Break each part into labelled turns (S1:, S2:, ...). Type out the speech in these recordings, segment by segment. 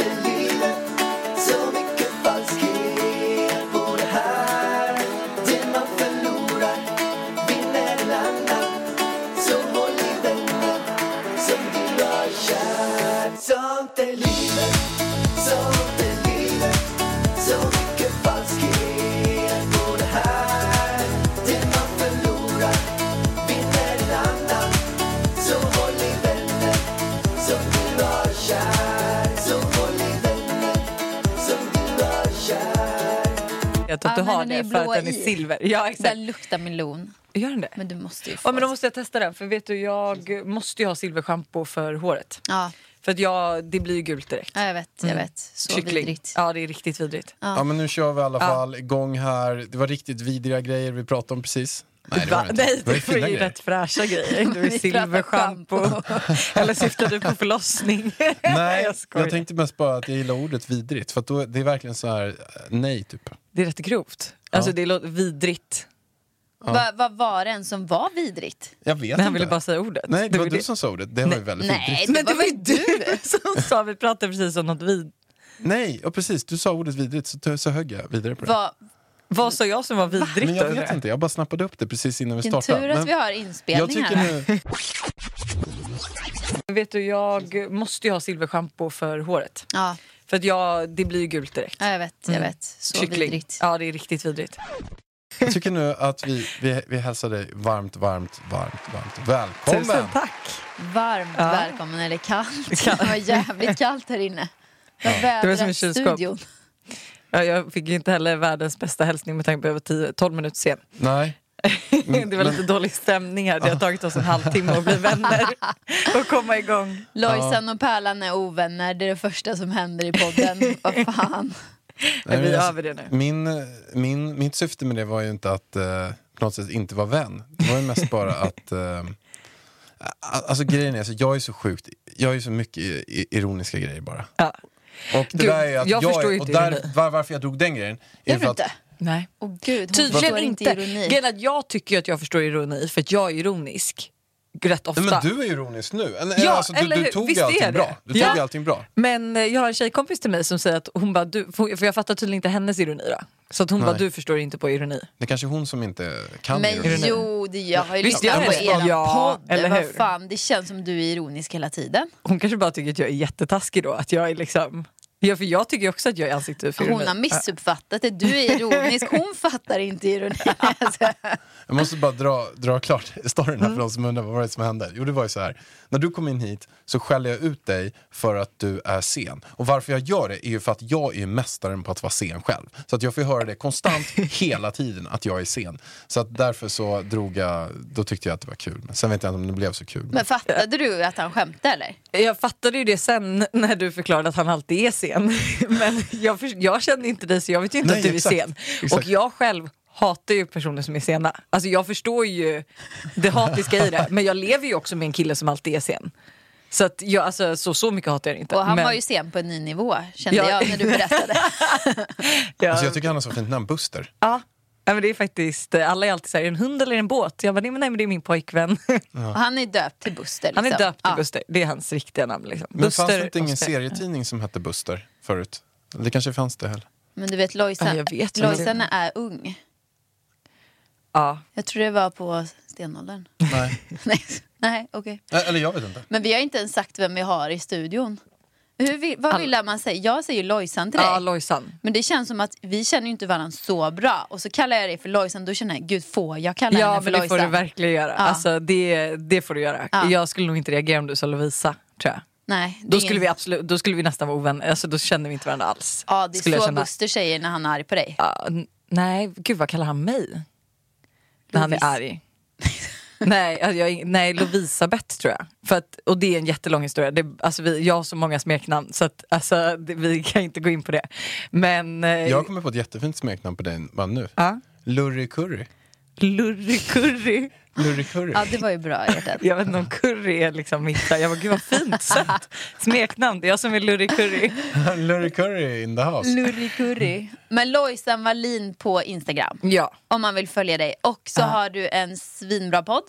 S1: är livet Så mycket falskhet på det här Det man förlorar vinner en annan Så håll i denna som du har kär Sånt är livet, sånt är livet Så mycket falskhet på det här Det man förlorar vinner en annan Så håll i vänner som du har kär Så håll i vänner som du har kär
S2: Jag tror att du
S3: Ja, Ah, men
S2: har
S3: den är
S2: det
S3: ju
S2: för
S3: blå
S2: att den är
S3: i.
S2: silver. Ja,
S3: Den
S2: exakt.
S3: luktar melon.
S2: Gör den det?
S3: Men du måste ju få.
S2: Ja, men då måste jag testa den. För vet du, jag måste ju ha silverschampo för håret.
S3: ja.
S2: För att jag, det blir ju gult direkt.
S3: ja, jag vet. Jag vet. Så
S2: Mm. Kyckling.
S3: vidrigt.
S2: Ja, det är riktigt vidrigt.
S4: Ja men nu kör vi i alla fall igång här. Det var riktigt vidriga grejer vi pratade om precis.
S5: Nej, det var det inte.
S2: Nej,
S4: var ju
S2: det var
S4: fina
S2: ju
S4: grejer.
S2: rätt fräscha grejer. Du är
S3: Vi pratar
S2: silverschampo. Eller syftar du på förlossning?
S4: Nej, jag,
S2: jag skojar.
S4: tänkte mest bara att jag gillar ordet vidrigt. För att då, det är verkligen så här, eh, nej typ.
S2: Det är rätt grovt. Alltså det låter vidrigt.
S3: Va- Vad var det än som var vidrigt?
S4: Jag vet
S2: Men
S4: inte.
S2: han ville bara säga ordet.
S4: Nej, det var
S2: ju
S4: du som sa ordet. Det var ju väldigt
S3: Nej,
S4: vidrigt.
S3: det
S2: Men det var ju
S3: väl
S2: du som sa vi pratade precis om något vid...
S4: Nej, och precis. Du sa ordet vidrigt så, så högg jag vidare på det.
S3: Vad-
S2: Vad sa jag som var vidrigt?
S4: Men jag
S2: då,
S4: vet
S2: undrar
S4: inte, jag bara snappade upp det precis innan vi
S3: Vilken
S4: startade.
S3: tur att
S4: Men
S3: vi har
S4: jag
S3: inspelning
S4: tycker
S3: här.
S4: nu,
S2: Vet du, jag måste ju ha silverschampo för håret.
S3: Ja.
S2: För att jag, det blir ju gult direkt.
S3: ja, jag vet. Jag vet. Så vidrigt.
S2: Mm. Ja, det är riktigt vidrigt.
S4: jag tycker nu att vi, vi, vi hälsar dig varmt, varmt, varmt, varmt välkommen.
S2: Tusen tack!
S3: Varmt
S2: Ja.
S3: välkommen, eller kallt.
S2: Kallt.
S3: Det var jävligt kallt här inne.
S2: Det var som i kylskåp.
S3: studion.
S2: Ja, jag fick ju inte heller världens bästa hälsning med tanke på att jag var 10 12 minuter sen. Mm,
S4: Nej.
S2: det var lite dålig stämning här. Det har tagit oss en halvtimme att bli vänner och komma igång.
S3: Lojsan och Pärlan är ovänner, det är det första som händer i podden. Vad fan.
S2: Men
S4: Nej,
S2: vi är
S4: alltså,
S2: över det nu.
S4: Min, min, mitt syfte med det var ju inte att eh, på något sätt inte vara vän. Det var ju mest bara att... Eh, alltså grejen är, så jag är så sjukt, jag är så mycket i- i- ironiska grejer bara.
S2: Ja.
S4: Och det
S2: Gud,
S4: där är att
S2: jag
S4: jag,
S2: förstår ju
S4: är, och
S2: inte ironi.
S4: där, var, varför jag drog den grejen.
S3: Gör
S4: är
S3: du
S4: för att,
S3: inte?
S2: Nej.
S3: Åh gud, hon
S2: Tydligen
S3: förstår
S2: inte.
S3: inte ironi.
S2: Grejen är att jag tycker ju att jag förstår ironi för att jag är ironisk rätt ofta.
S4: Nej, men du är ironisk nu. En-
S2: Ja,
S4: alltså, du,
S2: eller
S4: du
S2: hur?
S4: tog
S2: Visst
S4: ju
S2: är
S4: allting
S2: det.
S4: bra. Du tog
S2: Ja.
S4: ju allting bra.
S2: Men eh, jag har en tjejkompis till mig som säger att hon bara, du, för för jag fattar tydligen inte hennes ironi då. Så att hon bara,
S4: Nej.
S2: du förstår inte på ironi.
S4: Det är kanske hon som inte kan
S3: Men
S4: ironi.
S3: jo, det jag har ju
S2: Visst
S3: lyssnat
S2: gör
S3: på
S2: det.
S3: eran
S2: Ja,
S3: podd.
S2: eller hur?
S3: Vad fan, det känns som du är ironisk hela tiden.
S2: Hon kanske bara tycker att jag är jättetaskig då, att jag är liksom... Ja, för jag tycker ju också att jag är ansiktet för
S3: Hon har missuppfattat det. Du är ironisk, hon fattar inte ironi. Alltså,
S4: Jag måste bara dra, dra klart storyn här för
S2: Mm.
S4: de som undrar vad var det som hände. Jo, det var ju så här. När du kom in hit så skällde jag ut dig för att du är sen. Och varför jag gör det är ju för att jag är ju mästaren på att vara sen själv. Så att jag får ju höra det konstant hela tiden, att jag är sen. Så att därför så drog jag, då tyckte jag att det var kul. Men sen vet jag inte om det blev så kul.
S3: men fattade du att han skämtade eller?
S2: Jag fattade ju det sen när du förklarade att han alltid är sen. Men jag, förs- jag känner inte dig så jag vet ju inte
S4: Nej,
S2: att du
S4: exakt.
S2: är sen.
S4: Exakt.
S2: Och jag själv hatar ju personer som är sena. Alltså jag förstår ju det hatiska i det. Men jag lever ju också med en kille som alltid är sen. Så att jag, alltså, så, så mycket hatar jag inte.
S3: Och han
S2: men,
S3: var ju sen på en ny nivå kände
S2: Ja.
S3: jag när du berättade.
S2: jag,
S4: Alltså jag tycker han har så fint namn, Buster.
S2: ja. Ja, men det är faktiskt, eh, alla är alltid såhär, en hund eller en båt? Jag bara, nej men, nej, men det är min pojkvän.
S3: Och han är döpt till Buster. Liksom.
S2: Han är döpt till
S3: Ja.
S2: Buster, det är hans riktiga namn. Liksom.
S4: Men fanns det inte ingen
S2: Buster.
S4: serietidning som hette Buster förut? Det kanske fanns det heller.
S3: Men du vet,
S2: Ja,
S3: Lojsan,
S2: jag vet vad
S3: Lojsan är ung.
S2: Ja.
S3: Jag tror det var på stenåldern.
S4: Nej.
S3: Nej, nej okej.
S4: Ä- Eller jag vet inte.
S3: Men vi har inte ens sagt vem vi har i studion. Hur, vill- vad vill man säga? Jag säger Lojsan till dig.
S2: Ja, Lojsan.
S3: Men det känns som att vi känner ju inte varandå så bra. Och så kallar jag dig för Lojsan, då känner jag, gud får jag kalla
S2: Ja,
S3: henne för
S2: men det
S3: Lojsan?
S2: får du verkligen göra. Alltså, det, det får du göra.
S3: Ja.
S2: Jag skulle nog inte reagera om du sa Lovisa, tror jag.
S3: Nej, det är
S2: Då
S3: ingen-
S2: skulle, vi absolut, då skulle vi nästan vara ovänner, alltså, då känner vi inte varandra alls.
S3: Ja, det
S2: skulle
S3: är
S2: jag
S3: så
S2: känna.
S3: Buster säger när han är arg på dig.
S2: Ja, Ah, n- nej, gud vad kallar han mig? När han är
S3: Lovis.
S2: arg. nej, alltså, jag, nej, Lovisabeth tror jag. För att, och det är en jättelång historia. Det, alltså, vi, jag har så många smeknamn så att, alltså, det, vi kan inte gå in på det. Men eh,
S4: Jag kommer på ett jättefint smeknamn på dig bara nu.
S2: Ja.
S4: Lurry Curry.
S2: Lurry curry.
S4: Lurry curry.
S3: Ja, det var ju bra hjärtat.
S2: Jag vet inte om curry är liksom mitt där. Jag var gud vad fint sött smeknamn. Det är jag som är Lurry curry.
S4: Lurry curry in the house.
S3: Lurry curry. Men Lojsan Wallin på Instagram.
S2: Ja,
S3: Om man vill följa dig. Och så har du en svinbra podd.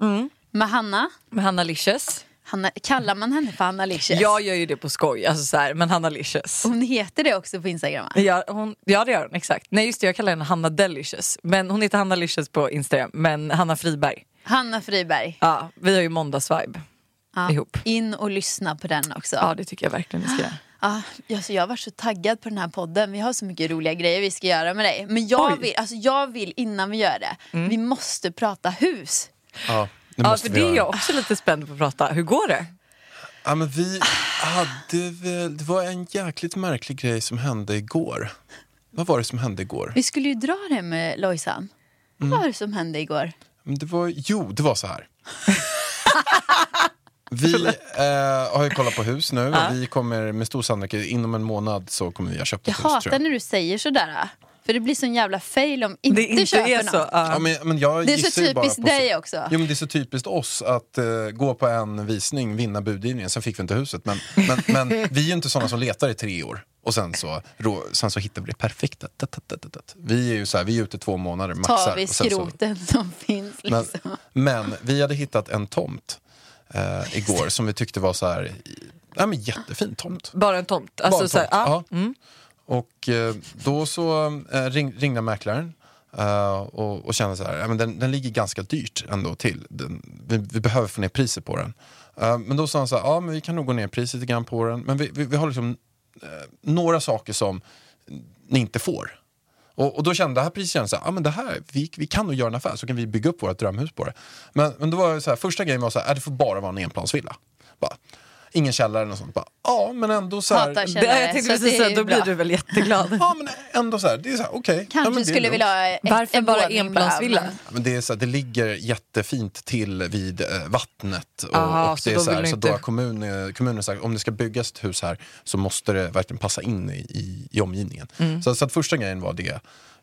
S2: Mm.
S3: Med Hanna.
S2: med Hanna Licious.
S3: Hanna. Kallar man henne för Hanna Licious?
S2: Jag gör ju det på skoj, alltså så här, men Hanna Licious.
S3: Hon heter det också på Instagram va?
S2: Ja, hon, ja det gör hon, exakt. Nej just det, jag kallar henne Hanna Delicious. Men hon heter Hanna Licious på Instagram, men Hanna Friberg.
S3: Hanna Friberg.
S2: Ja, vi har ju måndagsvibe
S3: Ja.
S2: ihop.
S3: In och lyssna på den också.
S2: Ja det tycker jag verkligen vi ska göra.
S3: Ah, alltså jag var så taggad på den här podden. Vi har så mycket roliga grejer vi ska göra med dig. Men jag,
S2: Oj.
S3: vill, alltså jag vill innan vi gör det, vi måste prata hus.
S4: Ja, det
S2: Ja
S4: måste
S2: för
S4: vi
S2: det är
S4: göra.
S2: jag också lite spänd på att prata. Hur går det?
S4: Ja, men vi hade väl, det var en jäkligt märklig grej som hände igår. Vad var det som hände igår?
S3: Vi skulle ju dra det med Lojsan. Vad var det som hände igår?
S4: Men Det var, jo, det var så här. Vi eh, har ju kollat på hus nu och vi kommer med stor sannolikhet inom en månad så kommer vi ha köpt
S3: Jag
S4: ett hus tror
S3: hatar
S4: jag.
S3: när du säger sådär. ah. För det blir sån jävla fail om inte,
S2: Det inte
S3: köper
S2: är
S3: något.
S2: så. ja.
S4: Ja, men, men jag
S3: Det är så
S4: gissar ju bara
S3: typiskt
S4: på så-
S3: dig också.
S4: Jo, men det är så typiskt oss att eh, gå på en visning, vinna budgivningen, sen fick vi inte huset. Men, men, men vi är ju inte såna som letar i tre år och sen så, rå, sen så hittar vi det perfekta. Tat, tat, tat, tat, tat. Vi är ju så här, vi är ute två månader, maxar.
S3: Tar vi
S4: och sen så-
S3: skroten som finns
S4: Men,
S3: liksom.
S4: men vi hade hittat en tomt eh, igår som vi tyckte var så här, i- ja, men jättefin tomt.
S2: Bara en tomt. Alltså,
S4: Bara en
S2: Så här,
S4: tomt.
S2: ja.
S4: Ja. Och eh, då så eh, ring, ringde mäklaren eh, och, och kände så här, ja, men den, den ligger ganska dyrt ändå till. Den, vi, vi behöver få ner priset på den. Eh, men då sa han så här, ja men vi kan nog gå ner priset lite grann på den. Men vi, vi, vi har liksom eh, några saker som ni inte får. Och, och då kände det här priset kändes så här, ah, men det här, vi, vi kan nog göra en affär så kan vi bygga upp vårt drömhus på det. Men, men då var det så här, första grejen var så här, äh, det får bara vara en enplansvilla. Bara, ingen källare eller något sånt. Bara, ja men ändå så här,
S3: Hatar
S2: Det,
S3: källare.
S2: jag tänkte
S3: så
S2: precis
S3: det är
S2: säga, då
S3: bra.
S2: blir du väl jätteglad.
S4: ja men ändå så här, det är så här, okej. Ja, men
S3: Kanske
S4: det är
S3: skulle
S4: lugnt.
S3: vilja ha ett,
S2: Varför
S3: en
S2: bara
S3: våning
S2: enplansvilla?
S3: bara, men-
S4: Ja, Men det, är så här, det ligger jättefint till vid eh, vattnet. Och,
S2: Aha,
S4: och
S2: så
S4: det är
S2: då
S4: så, här,
S2: vill
S4: så
S2: du
S4: då har
S2: inte-
S4: kommun, eh, kommunen sagt om det ska byggas ett hus här så måste det verkligen passa in i, i, i omgivningen.
S2: Mm.
S4: Så, så att första grejen var det.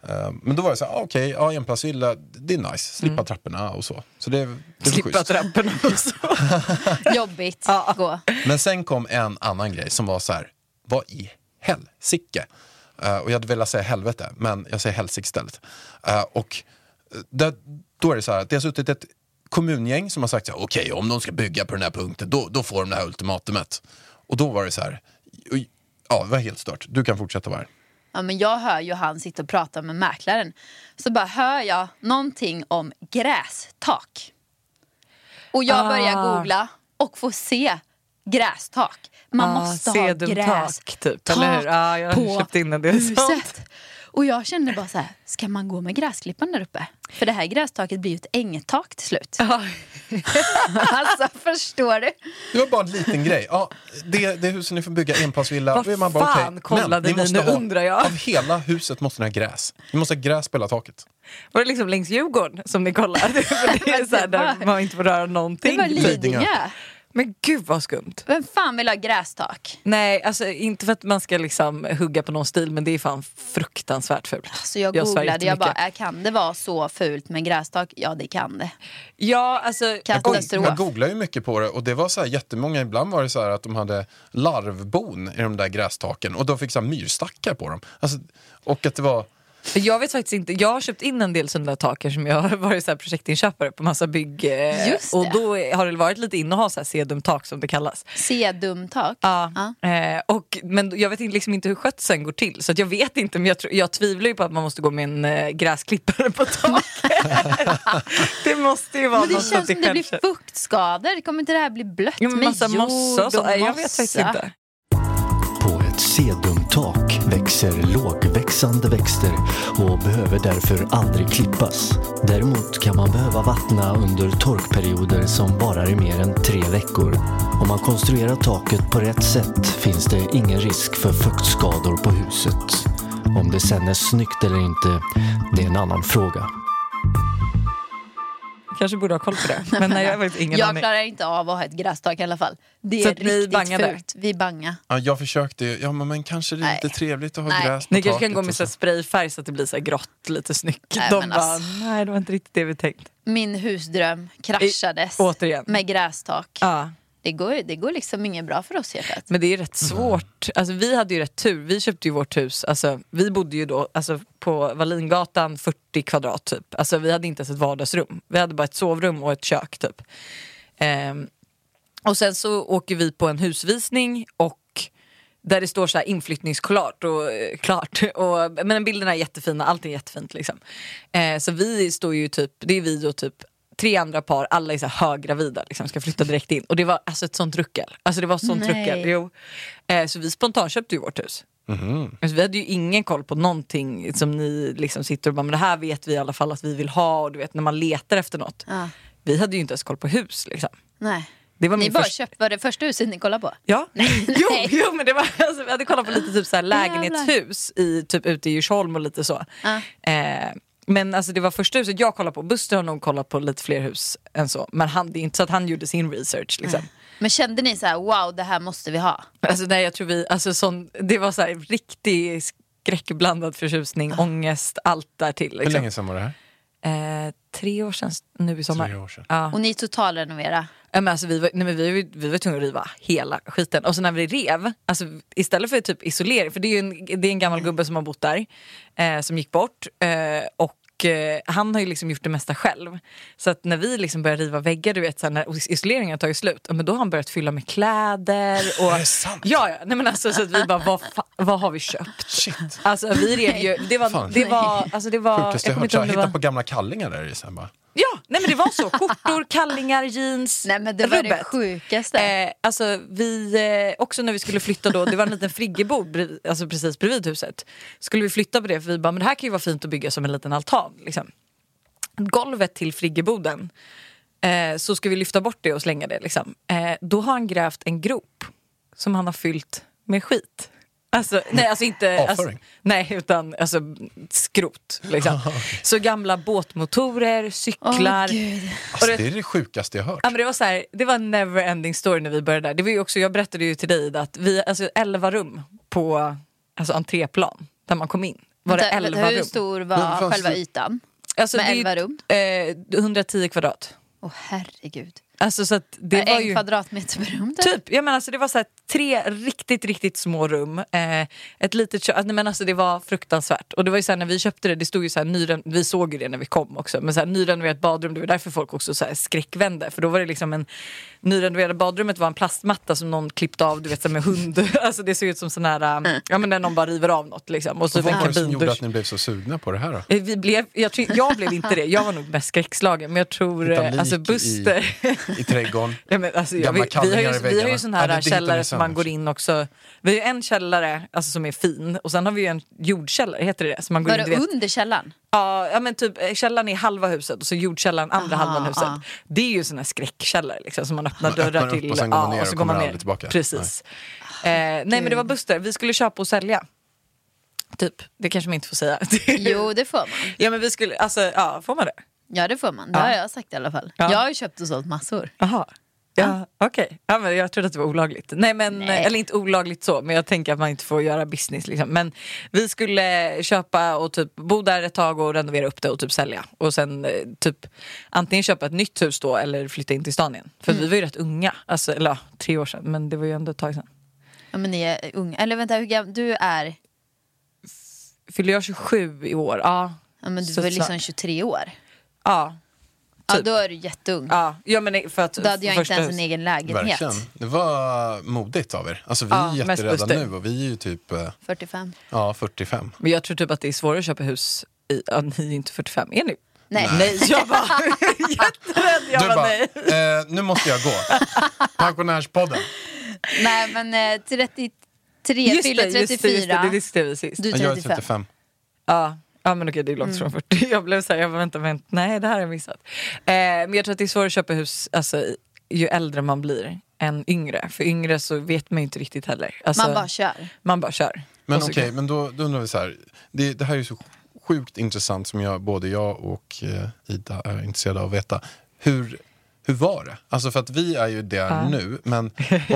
S4: Eh, Men då var det så här, ah, okej, ja, enplansvilla, det är nice. Slippa trapporna och så. Så det, det var
S2: Mm. Slippa
S4: schysst.
S2: trapporna och så.
S3: Jobbigt. Gå.
S4: Men sen kom en annan grej som var så här, vad i helsike? Eh, och jag hade velat säga helvete, men jag säger helsike istället. Eh, och eh, där, då är det så här, att det har suttit ett kommungäng som har sagt så här, okej om de ska bygga på den här punkten då, då får de det här ultimatumet. Och då var det så här, oj, ja det var helt stört, du kan fortsätta vara här.
S3: Ja, men jag hör ju han sitta och prata med mäklaren. Så bara hör jag någonting om grästak. Och jag börjar
S2: Ah.
S3: googla och får se grästak. Man
S2: Ah,
S3: måste ha
S2: sedumtak,
S3: grästak
S2: typ, eller hur? Ah, jag har
S3: på
S2: köpt in en del sånt.
S3: huset. Och jag kände bara så här, ska man gå med gräsklipparen där uppe? För det här grästaket blir ju ett ängtak till slut. alltså förstår du?
S4: Det var bara en liten grej. Ja, det, det huset ni får bygga, enplansvilla.
S2: Vad
S4: Då är man bara,
S2: fan
S4: okej,
S2: kollade ni?
S4: men måste
S2: Nu
S4: ha-
S2: undrar jag.
S4: Av hela huset måste ni ha gräs. Ni måste ha gräs på hela taket.
S2: Var det liksom längs Djurgården som ni kollade? För det är så här, där man inte får röra
S3: Det
S2: någonting.
S3: var
S2: typ.
S3: Lidingö.
S2: Men gud vad skumt.
S3: Vem fan vill ha grästak?
S2: Nej, alltså inte för att man ska liksom hugga på någon stil men det är fan fruktansvärt fult.
S3: Alltså jag
S2: svär
S3: googlade, jag
S2: jättemycket.
S3: bara, äh, kan det vara så fult med grästak? Ja det kan det.
S2: Ja, alltså...
S3: Katastrof.
S4: Jag googlade ju mycket på det och det var så här jättemånga, ibland var det så här att de hade larvbon i de där grästaken och de fick så här myrstackar på dem. Alltså, och att det var,
S2: Jag vet faktiskt inte, jag har köpt in en del sådana där taker som jag har varit så här projektinköpare på massa bygg eh,
S3: Just det.
S2: och då är- har det varit lite in att ha så här sedumtak som det kallas.
S3: Sedumtak.
S2: Ja. Eh, och, men jag vet inte- liksom inte hur skötseln går till så att jag vet inte men jag, tror- jag tvivlar ju på att man måste gå med en eh, gräsklippare på taket. det måste ju vara
S3: Men det
S2: något
S3: känns som det blir
S2: självkör.
S3: fuktskador. Kommer inte det här bli blött
S2: alltså, Ja, men
S3: med
S2: massa
S3: jord
S2: mossa och så.
S3: och
S2: Nej, Jag vet faktiskt
S3: mossa?
S2: inte.
S5: På ett sedumtak växer lågväxande växter och behöver därför aldrig klippas. Däremot kan man behöva vattna under torkperioder som varar i mer än tre veckor. Om man konstruerar taket på rätt sätt finns det ingen risk för fuktskador på huset. Om det sen är snyggt eller inte, det är en annan fråga.
S2: Kanske borde ha koll på det. Men nej, jag har faktiskt ingen
S3: jag
S2: aning.
S3: klarar inte av att ha ett grästak i alla fall. Det är
S2: Så att ni
S3: riktigt
S2: bangade?
S3: fult. Vi banga.
S4: Ja, jag försökte ju. Ja, men, men kanske det är lite
S3: Nej.
S4: trevligt att ha
S3: Nej.
S4: gräs på
S2: Ni kanske kan
S4: taket
S2: gå med
S4: och
S2: så här sprayfärg så att det blir så här grått, lite snyggt.
S3: liksom. Nej,
S2: De
S3: men
S2: bara,
S3: alltså.
S2: nej det var inte riktigt det vi tänkt.
S3: Min husdröm kraschades
S2: I- återigen.
S3: med grästak.
S2: Ja.
S3: Det, går, det går liksom inget bra för oss hjärtat.
S2: Men det är rätt svårt. Alltså, vi hade ju rätt tur. Vi köpte ju vårt hus. Alltså, vi bodde ju då alltså, på Wallingatan 40 kvadrat typ. Alltså, vi hade inte ens ett vardagsrum. Vi hade bara ett sovrum och ett kök typ. Ehm, och sen så åker vi på en husvisning och där det står så här inflyttningsklart och eh, klart. Och, men bilderna är jättefina, allting är jättefint liksom. Eh, så vi står ju typ, det är vi och typ tre andra par, alla är så här högravida, liksom, ska flytta direkt in. Och det var alltså ett sånt ruckel. Alltså det var sånt
S3: Nej.
S2: ruckel. Jo. Eh, så vi spontanköpte ju vårt hus. Alltså, vi hade ju ingen koll på någonting som ni liksom sitter och bara, men det här vet vi i alla fall att vi vill ha. Och du vet när man letar efter något.
S3: Ja.
S2: Vi hade ju inte ens koll på hus liksom.
S3: Nej.
S2: Det var
S3: Ni
S2: min
S3: bara
S2: första-
S3: köpte, var det första huset ni kollade på?
S2: Ja. Jo,
S3: nej.
S2: jo, men det var, alltså, vi hade kollat på lite typ så här lägenhetshus i, typ, ute i Djursholm och lite så. Eh, men alltså, det var första huset jag kollade på. Buster har nog kollat på lite fler hus än så. Men han, det är inte så att han gjorde sin research. Liksom.
S3: Men kände ni så här, wow det här måste vi ha?
S2: Alltså, nej, jag tror vi, alltså, sån, det var så här, riktig skräckblandad förtjusning, ångest, allt där till.
S4: Hur
S2: Liksom.
S4: länge sedan var det här?
S2: Eh, tre år sedan nu i sommar.
S4: Tre år sedan.
S2: Ja.
S3: Och ni totalrenovera?
S2: Ja, men alltså, vi, var, nej, men vi, var- vi var tvungna att riva hela skiten. Och så när vi rev, alltså, istället för typ isolering, för det är ju en, det är en gammal gubbe som har bott där, eh, som gick bort. Eh, och eh, han har ju liksom gjort det mesta själv. Så att när vi liksom börjar riva väggar, du vet, så här, när is- isoleringen har tagit slut, ja, men då har han börjat fylla med kläder. Och,
S4: Är det sant?
S2: Ja, ja. Nej, men alltså, så att vi bara, vad, fa- vad har vi köpt?
S4: Shit.
S2: Alltså vi rev ju, det var,
S4: Fan.
S2: det var, alltså det var,
S4: Sjukaste jag
S2: kommer
S4: hört.
S2: inte
S4: Så
S2: ihåg
S4: jag
S2: om det
S4: hittade
S2: var-
S4: på gamla kallingar där i sen bara.
S2: Ja, nej men det var så. Skjortor, kallingar, jeans,
S3: Nej men det var det
S2: rubbet.
S3: sjukaste.
S2: Eh, alltså, vi, eh, också när vi skulle flytta då, det var en liten friggebod brev, alltså precis bredvid huset. Skulle vi flytta på det för vi bara, men det här kan ju vara fint att bygga som en liten altan. Liksom. Golvet till friggeboden, eh, så ska vi lyfta bort det och slänga det. Liksom. Eh, då har han grävt en grop som han har fyllt med skit. Alltså, nej, alltså inte... Alltså,
S4: Avföring?
S2: nej, utan alltså, skrot. Liksom. Så gamla båtmotorer, cyklar.
S3: gud.
S4: Alltså,
S2: det-
S4: det är det sjukaste jag hört.
S2: Ja, men det var så här, det var en never ending story när vi började där. Det var ju också, jag berättade ju till dig Ida, att vi, alltså 11 rum på alltså, entréplan där man kom in. Var det
S3: Vänta, vänta,
S2: 11
S3: Hur
S2: rum?
S3: stor
S4: Men
S3: var
S4: fanns
S3: själva
S4: det-
S3: ytan?
S2: Alltså,
S3: med
S2: det är ju,
S3: 11 rum?
S2: Eh, 110 kvadrat.
S3: Åh herregud.
S2: Alltså, så att det var
S3: en
S2: ju...
S3: kvadratmeter per rum? typ.
S2: Typ, jag menar, alltså, det var så här, tre riktigt, riktigt små rum. Eh, ett litet kö- alltså, nej, men alltså, det var fruktansvärt. Och det var ju så här, när vi köpte det, det stod ju så här, nyren- vi såg ju det när vi kom också, men så här, nyrenoverat badrum, det var därför folk också så här, skräckvände. För då var det liksom en, nyrenoverade badrummet var en plastmatta som någon klippte av, du vet så här, med hund. alltså det ser ut som sån här, eh, ja men när någon bara river av något liksom. Och så
S4: Vad
S2: var det en
S4: var det som gjorde
S2: kabindusch.
S4: att ni blev så sugna på det här då?
S2: Eh, Vi blev, jag, tror, jag blev inte det, jag var nog mest skräckslagen. Men jag tror,
S4: Hitta
S2: eh,
S4: lik
S2: alltså Buster.
S4: I, i trädgårn.
S2: Ja, men alltså, jag, vi,
S4: Gamla
S2: vi har
S4: kallingar
S2: ju,
S4: i
S2: vi har ju
S4: väggarna.
S2: sån
S4: Ja,
S2: här
S4: det är dit de är
S2: källare som man
S4: sönder.
S2: går in också. Vi har ju en källare alltså, som är fin och sen har vi ju en jordkällare, heter det det? Så man går
S3: Var
S2: in, du
S3: det
S2: vet,
S3: under källaren?
S2: ja, ja, men typ, eh, källaren är halva huset och så jordkällaren andra
S3: Aha,
S2: halvan huset.
S3: ja.
S2: Det är ju sån här skräckkällare liksom, som man öppnar
S4: Man
S2: dörrar
S4: öppnar upp
S2: till.
S4: och sen går man ner
S2: ja,
S4: och kommer aldrig tillbaka.
S2: Precis. Nej. Eh, nej men det var Buster, vi skulle köpa och sälja. Typ, det kanske man inte får säga.
S3: Jo det får man.
S2: Ja men vi skulle, alltså ja, får man det?
S3: Ja det får man. Det har jag sagt i alla fall.
S2: Ja.
S3: Jag har ju köpt och sålt massor.
S2: Jaha. Ja, okej. Ja, men jag trodde att det var olagligt. Nej, men,
S3: Nej.
S2: Eller inte olagligt så, men jag tänker att man inte får göra business. Liksom. Men vi skulle köpa och typ bo där ett tag och renovera upp det och typ sälja. Och sen eh, typ antingen köpa ett nytt hus då eller flytta in till stan igen. För
S3: Mm.
S2: vi var ju rätt unga, alltså, eller ja, tre år sedan, men det var ju ändå ett tag sedan.
S3: Ja men ni är unga. Eller vänta, hur gammal? Du är...
S2: Fyllde jag 27 i år? Ja.
S3: Ja, men du
S2: Så
S3: var
S2: snart.
S3: liksom 23 år.
S2: Ja,
S3: Ja,
S2: Typ.
S3: då är du jätteung.
S2: ja. ja men för att
S3: Då hade jag inte
S2: första
S3: ens
S2: hus-
S3: en egen lägenhet.
S4: Verkligen. Det var modigt av er. Alltså, vi
S2: Ja,
S4: är
S2: mest
S4: jätterädda
S2: Buster.
S4: nu och vi är ju typ eh,
S3: 45.
S4: ja, 45.
S2: Men jag tror typ att det är svårare att köpa hus i, ja, ni är ju inte 45, är ni?
S3: Nej.
S2: Nej, jag bara, jätterädd, jag
S4: Du
S2: bara,
S4: bara,
S2: nej.
S4: eh, nu måste jag gå. Pensionärspodden.
S3: Nej men eh, 33
S2: Just det,
S3: fyller 34.
S2: just det, just det, det diskuterade vi sist.
S3: Du Mm. är
S4: Jag är
S3: 35.
S4: 35.
S2: Ja. ja, men okej det är långt från 40. Jag blev såhär, jag bara vänta, vänta, nej det här har jag missat. Eh, men jag tror att det är svårare att köpa hus alltså, i- ju äldre man blir än yngre. För yngre så vet man ju inte riktigt heller. Alltså,
S3: Man bara kör.
S2: Man bara kör.
S4: Men
S2: Och så-
S4: okej, men då, då undrar vi så här. Det, det här är ju så sjukt intressant som jag, både jag och eh, Ida är intresserade av att veta. hur, hur var det? Alltså för att vi är ju där nu, men,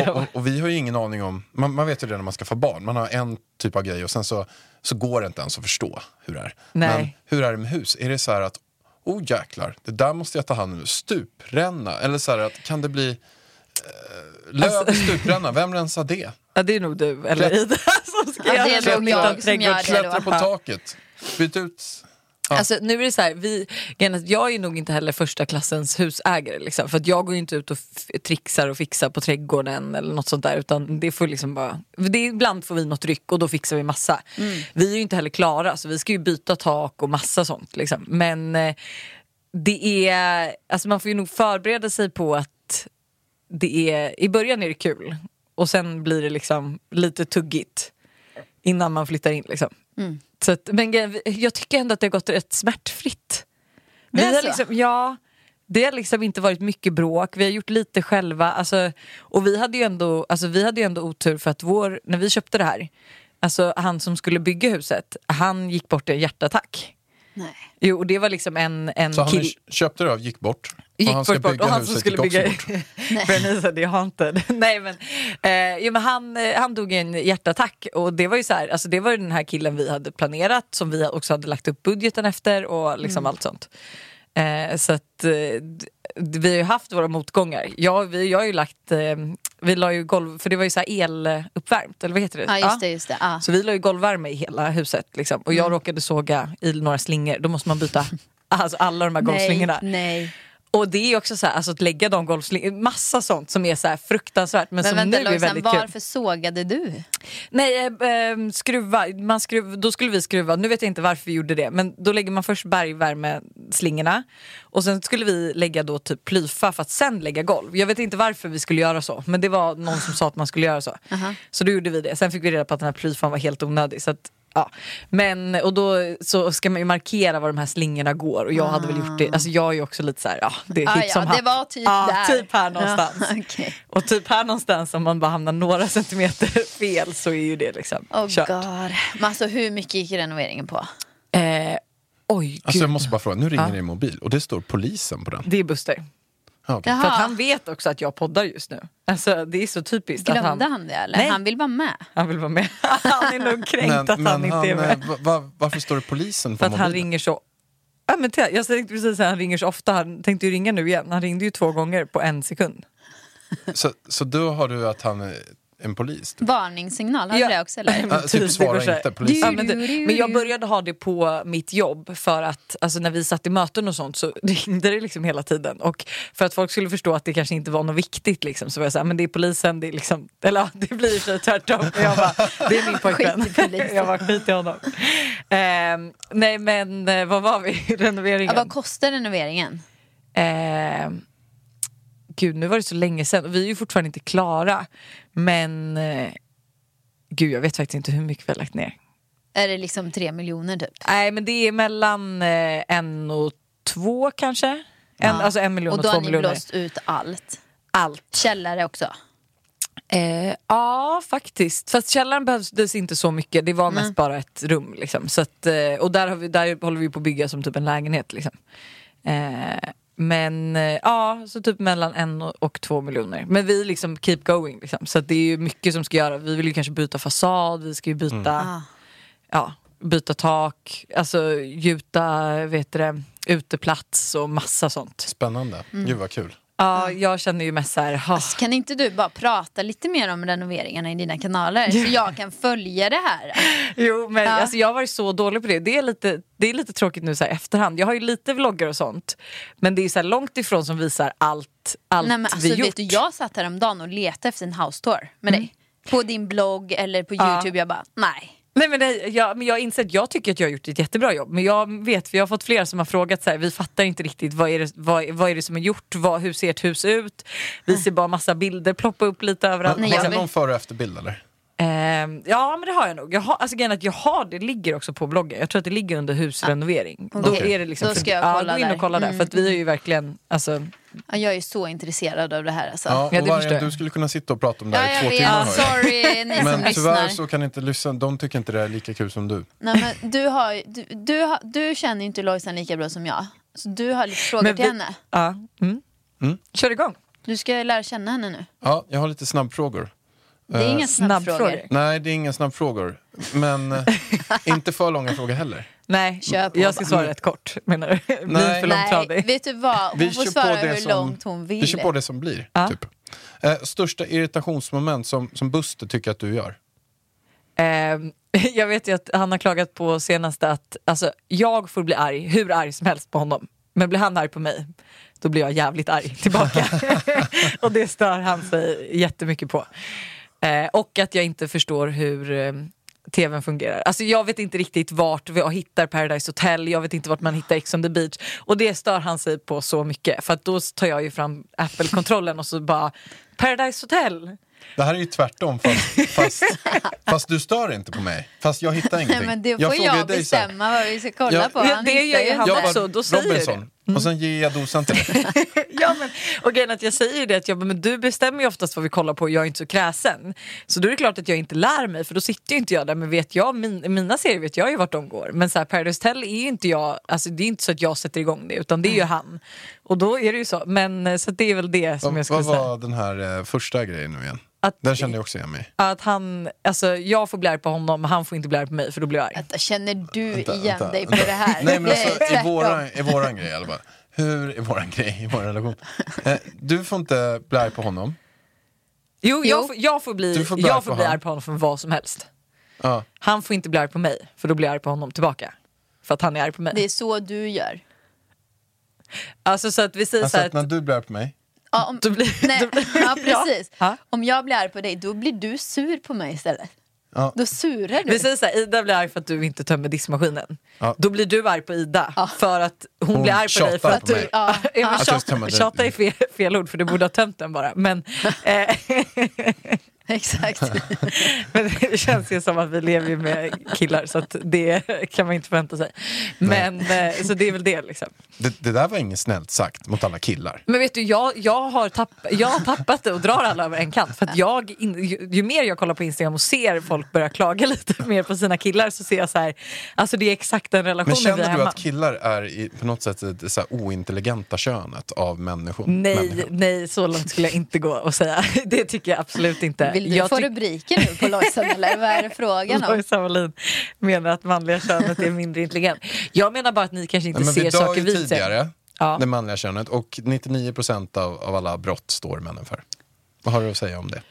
S4: och, och, och vi har ju ingen aning om... Man, man vet ju det när man skaffar barn, man har en typ av grej och sen så, så går det inte ens att förstå hur det är.
S2: Nej.
S4: Men hur är det med hus? Är det så här att, oh jäklar, det där måste jag ta hand om nu, stupränna? Eller så här att, kan det bli... Eh, löv, stupränna, vem rensar det?
S2: Ja, det är nog du eller Ida som ska
S3: Ja, det
S2: göra
S3: är nog jag som
S2: Trädgård-
S3: gör det då.
S4: Klättra på
S2: Ja.
S4: taket, byt ut... Ja.
S2: Alltså, nu är det så här, vi, grejen är att jag är nog inte heller första klassens husägare. Liksom, för att jag går ju inte ut och f- trixar och fixar på trädgården eller något sånt där. Utan det får liksom bara, det är, ibland får vi något ryck och då fixar vi massa. Vi är ju inte heller klara så vi ska ju byta tak och massa sånt. Liksom. Men eh, det är, alltså man får ju nog förbereda sig på att det är, i början är det kul och sen blir det liksom lite tuggigt innan man flyttar in. Liksom.
S3: Mm.
S2: Så att, men grejen- jag tycker ändå att det har gått rätt smärtfritt. Vi
S3: Det är
S2: har
S3: så?
S2: liksom, ja, det har liksom inte varit mycket bråk, vi har gjort lite själva. Alltså, och vi hade, ju ändå, alltså, vi hade ju ändå otur för att vår, när vi köpte det här, alltså han som skulle bygga huset, han gick bort i en hjärtattack.
S3: Nej.
S2: Jo, och det var liksom en, en
S4: Så han
S2: kill...
S4: är- köpte det av, gick bort.
S2: Gick
S4: och han
S2: först bort och han som
S4: huset
S2: skulle
S4: gick också
S2: bygga...
S4: bort.
S2: Bernice det har inte. Nej men, eh, jo, men han, eh, han dog i en hjärtattack och det var ju så här, alltså det var ju den här killen vi hade planerat som vi också hade lagt upp budgeten efter och liksom
S3: Mm.
S2: allt sånt. Eh, så att eh, d- vi har ju haft våra motgångar. Jag, vi, jag har ju lagt, eh, vi la ju golv, för det var ju så här eluppvärmt, eller vad heter det?
S3: Ja, just det. Just det. Ja. Mm.
S2: Så vi la ju golvvärme i hela huset liksom. och jag råkade såga i några slingor, då måste man byta alltså, alla de här golvslingorna.
S3: nej, nej.
S2: Och det är också så här, alltså att lägga de golvslingorna, massa sånt som är så här fruktansvärt men,
S3: Men
S2: som
S3: vänta
S2: nu är
S3: Lojsan,
S2: väldigt kul.
S3: varför sågade du?
S2: Nej, eh, eh, skruva, man skruv, då skulle vi skruva, nu vet jag inte varför vi gjorde det men då lägger man först bergvärmeslingorna och sen skulle vi lägga då typ plyfa för att sen lägga golv. Jag vet inte varför vi skulle göra så men det var någon som sa att man skulle göra så. Så då gjorde vi det, sen fick vi reda på att den här plyfan var helt onödig. Så att, Ja. Men, och då så ska man ju markera var de här slingorna går och jag hade väl gjort det, alltså jag är ju också lite så här, ja det är
S3: Ah,
S2: hipp
S3: ja,
S2: som happ.
S3: det var typ
S2: Ja,
S3: där.
S2: typ här någonstans.
S3: Ja, okej.
S2: Och typ här någonstans om man bara hamnar några centimeter fel så är ju det liksom
S3: Oh
S2: kört.
S3: god. Men alltså hur mycket gick renoveringen på?
S2: Eh, oj gud,
S4: Alltså jag måste bara fråga, nu ringer din mobil och det står polisen på den.
S2: det är Buster.
S4: Ja, okej.
S2: För att
S3: Ah.
S2: han vet också att jag poddar just nu. Alltså det är så typiskt att
S3: Glömde
S2: han,
S3: han det eller?
S2: Nej.
S3: Han vill vara med.
S2: han vill vara med. han är nog kränkt
S4: Men,
S2: att han
S4: men
S2: inte
S4: han,
S2: är med.
S4: eh, va, va, varför står det polisen på
S2: För att
S4: mobilen?
S2: han ringer så... Ja, men t- jag tänkte precis säga han ringer så ofta. Han tänkte ju ringa nu igen. Han ringde ju två gånger på en sekund.
S4: Så, så då har du att han är en polis? Typ.
S3: Varningssignal, hade
S2: Ja.
S3: du det också eller?
S2: Men
S4: Ah, typ
S2: typ, det
S4: svara
S2: går så här.
S4: inte, polisen.
S2: Ja, men, det- men jag började ha det på mitt jobb för att alltså, när vi satt i möten och sånt så ringde det liksom hela tiden. Och för att folk skulle förstå att det kanske inte var något viktigt liksom, så var jag såhär, men det är polisen, det är liksom, eller ja, det blir i och för sig tvärtom. Men jag bara, det är min pojkvän.
S3: Skit i polisen.
S2: jag bara, skit i honom. Ehm, nej men, eh, vad var vi?
S3: Ja,
S2: Renoveringen?
S3: vad kostar renoveringen?
S2: Eh, gud, nu var det så länge sedan. Och Vi är ju fortfarande inte klara. Men eh, gud, jag vet faktiskt inte hur mycket vi har lagt ner.
S3: Är det liksom tre miljoner typ?
S2: Nej, men det är mellan eh, en och två kanske. En, Alltså en miljon och,
S3: och då
S2: två
S3: har ni
S2: miljoner.
S3: blåst ut allt.
S2: Allt.
S3: Källare också.
S2: Eh, ja, faktiskt. Fast källaren behövdes inte så mycket. Det var mest bara ett rum. Liksom. Så att, eh, och där, har vi, där håller vi på att bygga som typ en lägenhet. Liksom. Eh, men eh, ja, så typ mellan en och- och två miljoner. Men vi liksom keep going. Liksom. Så att det är ju mycket som ska göras. Vi vill ju kanske byta fasad, vi ska ju byta, ja, byta tak, alltså gjuta vet du det, uteplats och massa sånt.
S4: Spännande.
S2: Mm.
S4: Gud vad kul.
S2: Ja, jag känner ju mest så här, "Ha,
S3: Så kan inte du bara prata lite mer om renoveringarna i dina kanaler så jag kan följa det här?
S2: Jo men
S3: Ja.
S2: alltså, jag har varit så dålig på det. Det är lite, det är lite tråkigt nu så här, efterhand. Jag har ju lite vloggar och sånt. Men det är så här, långt ifrån som visar allt, allt
S3: Nej, men
S2: vi
S3: alltså,
S2: gjort.
S3: vet du, jag satt häromdagen och letade efter en house tour med
S4: Mm.
S3: dig. På din blogg eller på Youtube. Jag bara, nej.
S2: Nej, men det, jag, men jag inser att jag tycker att jag har gjort ett jättebra jobb. Men jag vet, för jag har fått flera som har frågat så här, vi fattar inte riktigt vad är det, vad, vad är det som är gjort, vad, hur ser ett hus ut? Vi ser bara massa bilder ploppa upp lite överallt.
S3: Nej,
S4: har
S3: jag
S4: du
S3: vet-
S4: någon före och efterbild eller?
S2: Ehm, ja men det har jag nog. Jag har, alltså, grejen är att jag har, det ligger också på bloggen. Jag tror att det ligger under husrenovering. Då
S3: Ah, okej.
S2: är det liksom
S3: Då ska
S2: för-
S3: jag
S2: ja,
S3: kolla
S2: gå in
S3: där. Mm.
S2: och kolla där. För att vi är ju verkligen, alltså,
S3: Ja, Jag är så intresserad av det här alltså.
S4: Ja,
S3: Ja,
S4: och
S2: det
S4: Vargen,
S2: förstår jag.
S4: du skulle kunna sitta och prata om det här i
S3: jag
S4: två timmar.
S3: vet.
S4: hör jag.
S3: Sorry ni som
S4: Men tyvärr
S3: lyssnar.
S4: så kan inte lyssna, de tycker inte det är lika kul som du.
S3: Nej, men du, har, ju- du, du, har, du känner ju inte Lojsan lika bra som jag. Så du har lite frågor
S2: Men
S3: till
S2: vi-
S3: henne.
S2: ja. Mm. Kör igång.
S3: Du ska lära känna henne nu.
S4: Ja, jag har lite snabbfrågor.
S3: Det
S4: Eh,
S3: är inga snabbfrågor.
S2: snabbfrågor.
S4: Nej, det är inga snabbfrågor. Men eh, inte för långa frågor heller.
S2: Nej,
S3: Kör på
S2: jag ska
S3: bara.
S2: svara rätt kort menar du? Bli
S4: Nej.
S2: för
S3: Nej,
S2: långtradig.
S3: vet du vad? Hon får svara hur långt hon vill.
S4: vi kör på det som blir. Typ. Eh, största irritationsmoment som, som Buster tycker att du gör?
S2: Ehm, jag vet ju att han har klagat på senaste att alltså, jag får bli arg, hur arg som helst på honom. Men blir han arg på mig, då blir jag jävligt arg tillbaka. och det stör han sig jättemycket på. Eh, och att jag inte förstår hur eh, tvn fungerar. Alltså jag vet inte riktigt vart jag hittar Paradise Hotel, jag vet inte vart man hittar Ex on the beach. Och det stör han sig på så mycket. För att då tar jag ju fram Apple-kontrollen och så bara Paradise Hotel!
S4: Det här är ju tvärtom, fast, fast, fast du stör inte på mig. Fast jag hittar ingenting.
S3: Nej, men det får
S4: jag
S3: jag,
S4: frågar dig så här,
S3: bestämma vad vi ska kolla
S4: Ja,
S3: på.
S2: ja,
S3: Han
S2: det gör
S3: hittar
S2: ju
S3: ju
S2: han.
S3: inte.
S4: jag
S2: också,
S4: bara,
S2: Alltså, då säger du det. Mm.
S4: Robinson, och sen ger jag dosan till dig.
S2: Ja, men, och grejen är att jag säger det att jag, bara, men du bestämmer ju oftast vad vi kollar på och jag är inte så kräsen. Så då är det klart att jag inte lär mig för då sitter ju inte jag där. Men vet jag, min, mina serier vet jag ju vart de går. Men så här, Paradise Hotel är ju inte jag, alltså, det är inte så att jag sätter igång det utan det är ju
S4: Mm.
S2: han. Och då är det ju så. Men eh, så att det är väl det som jag skulle
S4: Vad
S2: säga.
S4: var den här eh, första grejen nu igen?
S2: Att-
S4: Den kände jag också igen mig i.
S2: Att han, alltså, jag får bli arg på honom men han får inte bli arg på mig för då blir jag arg.
S3: Vänta, Känner du
S4: Vänta,
S3: igen
S4: vänta,
S3: dig på
S4: vänta.
S3: det här?
S4: Nej, men
S3: Det är
S4: alltså, i,
S3: tvärtom.
S4: våran, I våran grej, eller bara, hur, i våran grej, i vår relation. Eh, du får inte bli arg på honom.
S2: Jo, jag,
S3: Jo.
S2: får, jag får bli,
S4: Du får bli arg
S2: jag
S4: på
S2: får bli
S4: han.
S2: arg på honom för vad som helst.
S4: Ja.
S2: Han får inte bli arg på mig för då blir jag arg på honom tillbaka. För att han är arg på mig.
S3: Det är så du gör.
S2: Alltså så att vi säger
S4: Alltså
S2: så här
S4: att när du blir arg på mig,
S3: Ja, om,
S2: Då blir-
S3: nej,
S2: då blir-
S3: ja precis.
S2: Ja.
S3: Om jag blir arg på dig, då blir du sur på mig istället.
S4: Ja.
S3: Då surar du.
S2: Vi säger såhär, Ida blir arg för att du inte tömmer diskmaskinen.
S4: Ja.
S2: Då blir du arg på Ida för att hon,
S4: Hon
S2: blir arg på dig för
S4: tjatar
S2: att
S4: på
S2: du...
S4: mig.
S2: Ja. men
S4: Att jag tömmer
S2: tjata,
S4: den.
S2: tjata är fel, fel ord för du borde ha tömt den bara. Men, eh,
S3: Exakt.
S2: men det känns ju som att vi lever ju med killar så att det kan man inte förvänta sig. Men, eh, så det är väl det liksom.
S4: det, det där var inget snällt sagt mot alla killar.
S2: Men vet du, jag, jag, har tapp, jag har tappat det och drar alla över en kant. För att jag, in, ju, ju mer jag kollar på Instagram och ser folk börja klaga lite mer på sina killar så ser jag så här, alltså det är exakt den relationen
S4: Men
S2: vi har
S4: känner du
S2: hemma.
S4: att killar är i, på något sätt det så här ointelligenta könet av människor?
S2: Nej,
S4: människor?
S2: nej, så långt skulle jag inte gå och säga. Det tycker jag absolut inte.
S3: Vill du
S2: jag
S3: få
S2: tycker-
S3: rubriker nu på Lojsan eller vad är det frågan om?
S2: Lojsan Wallin menar att manliga könet är mindre intelligent. Jag menar bara att ni kanske inte
S4: Nej, men
S2: ser
S4: vi dör
S2: saker
S4: ju
S2: vi ser.
S4: tidigare,
S2: Ja.
S4: det manliga könet, och 99% av, av alla brott står männen för. Vad har du att säga om det?